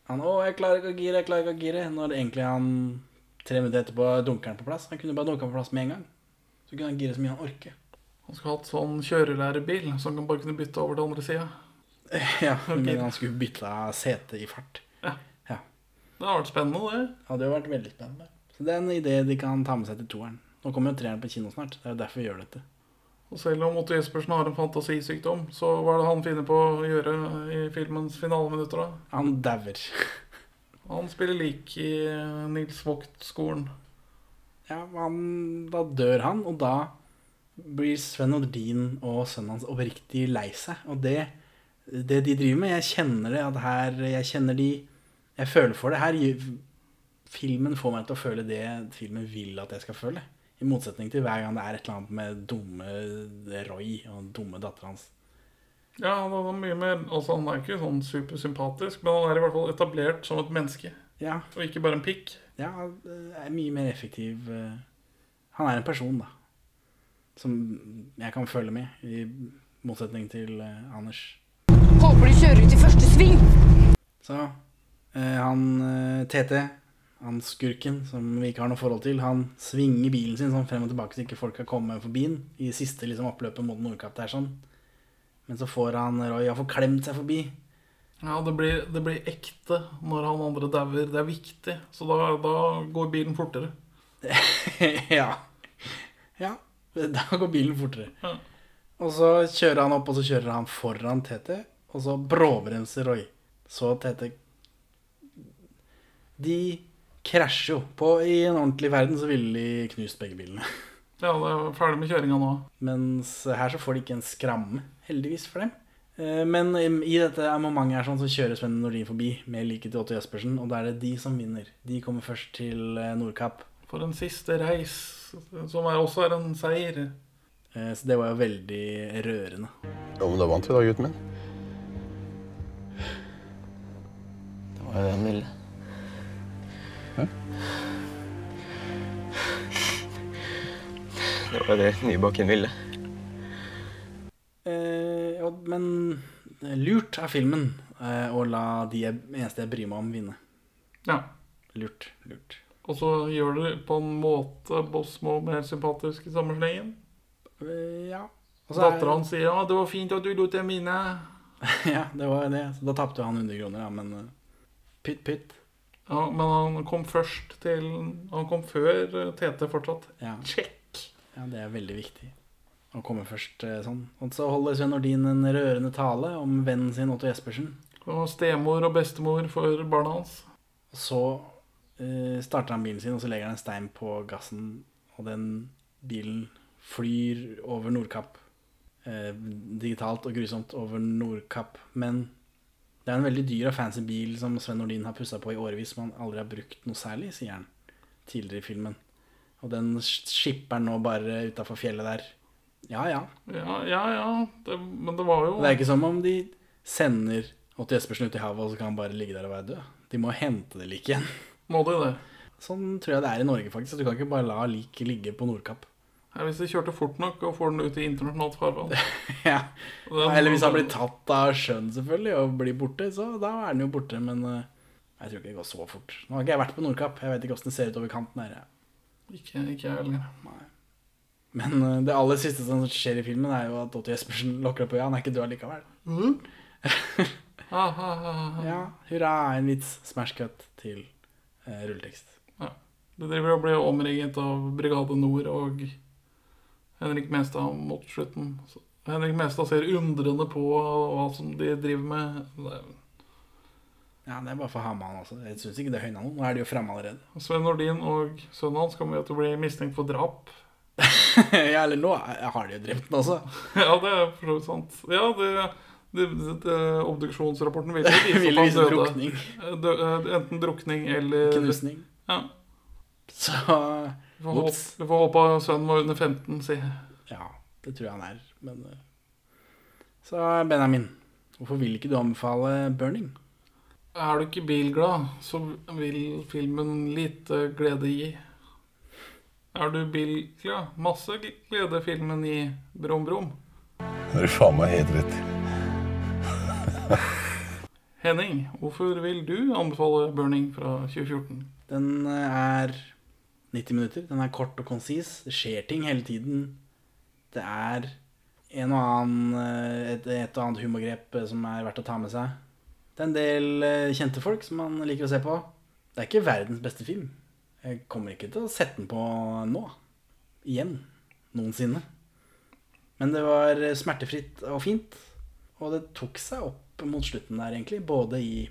A: han 'Å, jeg klarer ikke å gire, jeg klarer ikke å gire.' Når egentlig han tre minutter etterpå dunker den på plass. Han kunne bare dunka på plass med en gang. Så kunne han gire så mye han orker.
B: Han skulle hatt sånn kjørelærebil, så han kan bare kunne bytte over til andre sida.
A: Ja, Men han skulle bytta sete i fart.
B: Det har vært spennende, det.
A: Hadde jo vært veldig spennende. Så det er en idé de kan ta med seg til toeren. Nå kommer jo treeren på kino snart. Det er jo derfor vi gjør dette.
B: Og selv om Otto Jespersen har en fantasisykdom, så hva er det han finner på å gjøre i filmens finaleminutter, da?
A: Han dauer.
B: Han spiller lik i Nils Vogt-skolen.
A: Ja, han, da dør han, og da blir Sven Nordin og sønnen hans oppriktig lei seg. Og det, det de driver med Jeg kjenner det. at her, Jeg kjenner de Jeg føler for det. Her gjør- Filmen får meg til å føle det filmen vil at jeg skal føle. I motsetning til hver gang det er et eller annet med dumme Roy og dumme dattera hans.
B: Ja, han er mye mer Altså, han er ikke sånn supersympatisk, men han er i hvert fall etablert som et menneske.
A: Ja.
B: Og ikke bare en pikk.
A: Ja, eh, er mye mer effektiv. eh, Han er en person, da. Som jeg kan følge med, i motsetning til eh, Anders.
I: Håper du kjører ut i første sving.
A: Så eh, han eh, TT, han skurken som vi ikke har noe forhold til, han svinger bilen sin sånn frem og tilbake så ikke folk kan komme forbi den i siste liksom, oppløpet mot Nordkapp der sånn. Men så får han Roy har forklemt seg forbi.
B: Ja, det blir, det blir ekte når han andre dauer. Det er viktig. Så da, da går bilen fortere.
A: ja. Ja, da går bilen fortere. Og så kjører han opp, og så kjører han foran Tete, og så bråbremser Roy. Så Tete De krasjer jo. På, I en ordentlig verden så ville de knust begge bilene.
B: Ja, det er ferdig med kjøringa nå.
A: Mens her så får de ikke en skramme, heldigvis for dem. Eh, Men im- i dette momentet her sånn så kjører Sven Nordin forbi med liket til Otto Jespersen, og da er det de som vinner. De kommer først til eh, Nordkapp.
B: For en siste reis, som er også er en seier.
A: Eh, Så det var jo veldig rørende.
H: Jo, men da vant vi da, gutten min.
N: Det var jo det han ville. Det var jo det Nybakken ville.
A: Eh, og- men lurt er filmen eh, å la de jeg, eneste jeg bryr meg om, vinne.
B: Ja.
A: Lurt. lurt.
B: Og så gjør du på en måte Bosmo mer sympatisk i samme slengen.
A: Eh, Ja. Og så er-
B: Dattera hans sier 'ja, det var fint at du lot dem vinne'.
A: ja, det var jo det. Så da tapte jo han 100 kroner, da, men eh, pytt pytt.
B: Ja, men han kom først til Han kom før eh, Tete fortsatt.
A: Ja.
B: Check!
A: Ja, det er veldig viktig å komme først eh, sånn. Og så holder Sven Nordin en rørende tale om vennen sin Otto Jespersen.
B: Og stemor og bestemor for barna hans.
A: Og så eh, starter han bilen sin, og så legger han en stein på gassen, og den bilen flyr over Nordkapp. Eh, digitalt og grusomt over Nordkapp. Men det er en veldig dyr og fancy bil som Sven Nordin har pussa på i årevis, som han aldri har brukt noe særlig, sier han tidligere i filmen. Og den sk- skipper han nå bare utafor fjellet der. Ja, ja.
B: Ja, ja, ja. Det, men det var jo
A: Det er ikke som om de sender Otto Jespersen ut i havet, og så kan han bare ligge der og være død. De må hente det liket igjen.
B: Må de det?
A: Sånn tror jeg det er i Norge, faktisk. Du kan ikke bare la liket ligge på Nordkapp.
B: Nei, Hvis de kjørte fort nok og får den ut i internasjonalt farvann.
A: ja.
B: Den-
A: Eller hvis han blir tatt av sjøen, selvfølgelig, og blir borte, så da er han jo borte. Men eh, jeg tror ikke det går så fort. Nå har ikke jeg vært på Nordkapp. Jeg vet ikke åssen det ser ut over kanten her. jeg.
B: Ikke, ikke jeg heller.
A: Men eh, det aller siste som skjer i filmen, er jo at Otto Jespersen lokker opp øya. Han er ikke død allikevel.
B: Ha, ha, ha, ha.
A: Ja, hurra, en vits. Smash cut til eh, rulletekst.
B: Det driver og blir omringet av Brigade Nord og Henrik Mestad mot slutten. Så Henrik Mestad ser undrende på hva som de driver med. Det-
A: Ja, det er bare for å ha med han også. Jeg syns ikke det høyna noe. Nå er de jo framme allerede.
B: Sven Nordin og sønnen hans kommer jo til å bli mistenkt for drap.
A: ja, eller nå er- har de jo drept den også.
B: Ja, det er for så vidt sant. Ja, det, det, det, det Obduksjonsrapporten ville jo vise
A: Ville
B: at han
A: vise
B: døde.
A: drukning.
B: Eh, dø- eh, Enten drukning eller
A: Knusning.
B: Ja.
A: Så
B: Vi får, håpe,
A: Ops.
B: vi får håpe sønnen var under 15, si.
A: Ja, det tror jeg han er. Men eh, Så Benjamin, hvorfor vil ikke du anbefale burning?
B: Er du ikke bilglad, så vil filmen lite glede gi. Er du bilglad, masse glede filmen gi. Brum, brum.
O: Nå er du faen meg helt rett.
B: Henning, hvorfor vil du anbefale 'Burning' fra 2014?
A: Den eh, er 90 minutter. Den er kort og konsis. Det skjer ting hele tiden. Det er en og annen, eh, et, et og annet humorgrep eh, som er verdt å ta med seg. Det er en del eh, kjente folk som man liker å se på. Det er ikke verdens beste film. Jeg kommer ikke til å sette den på nå. Igjen. Noensinne. Men det var eh, smertefritt og fint. Og det tok seg opp mot slutten der, egentlig. Både i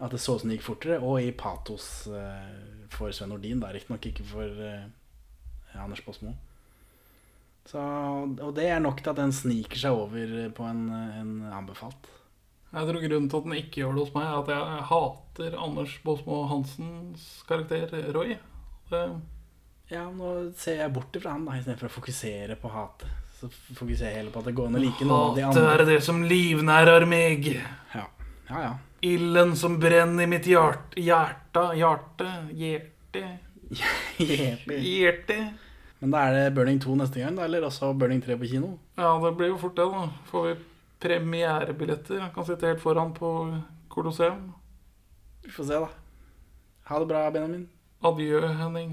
A: at det så ut som det gikk fortere, og i patos eh, for Sven Nordin. da, Riktignok ikke for eh, Anders Baasmo. Så, og det er nok til at den sniker seg over på en, en anbefalt.
B: Jeg tror grunnen til at den ikke gjør det hos meg, er at jeg hater Anders Båsmo Hansens karakter Roy. Det,
A: Ja, nå ser jeg bort ifra han, da, istedenfor å fokusere på hatet. Så f- fokuserer jeg heller på at det går an å like noen av de
B: Hatet er
A: andre.
B: det som livnærer meg.
A: Ja, ja, ja.
B: Ilden som brenner i mitt hjerte Hjerta, hjerte, hjerte Mm. Hjerte.
A: Men da er det Burning 2 neste gang, da, eller også Burning 3 på kino.
B: Ja, det blir jo fort det, da. Får vi premierebilletter? Han kan sitte helt foran på Colosseum.
A: Vi får se, da. Ha det bra, Benjamin.
B: Adjø, Henning.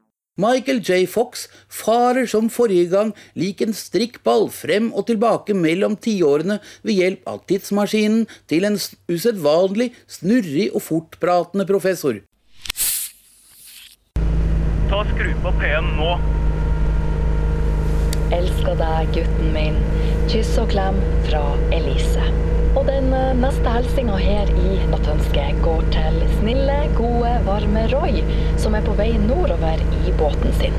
P: Michael J. Fox farer som forrige gang lik en strikkball frem og tilbake mellom tiårene ved hjelp av tidsmaskinen til en s- usedvanlig snurrig og fortpratende professor.
Q: Ta og skru på P-en nå.
R: Elsker deg, gutten min. Kyss og klem fra Elise. Og den eh, neste helsinga her i Nattønsket går til snille, gode, varme Roy, som er på vei nordover i båten sin.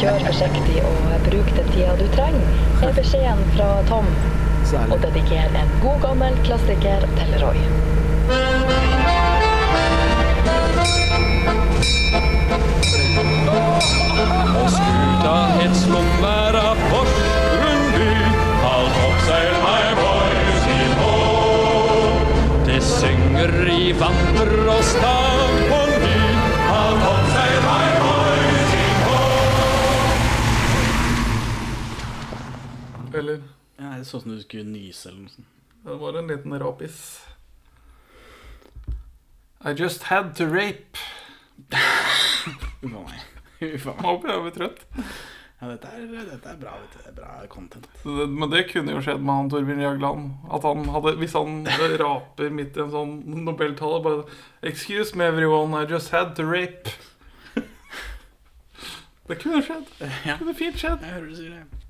R: Kjør forsiktig og bruk den tida du trenger, er beskjeden fra Tom. Og dediker en god gammel klassiker til Roy.
Q: Og skuta het Slåmværa Porsgrunn by. Halt oppseil meg boys i mål. Det synger i vanter og stag på ny. Halt oppseil meg boys i mål.
B: Eller
A: Ja, det så ut som du skulle nyse eller noe sånt.
B: det var en liten rapis. I just had to rape.
A: Uff a meg. Uff a meg.
B: Nå ble jeg litt trøtt.
A: Ja, dette er, dette er bra, vet du. Det er bra content.
B: Det- Men det kunne jo skjedd med han Torbjørn Jagland. At han hadde, hvis han raper midt i en sånn nobeltale bare Excuse me everyone, I just had to rape. Det kunne skjedd. Det kunne fint skjedd.
A: Jeg hører du sier det.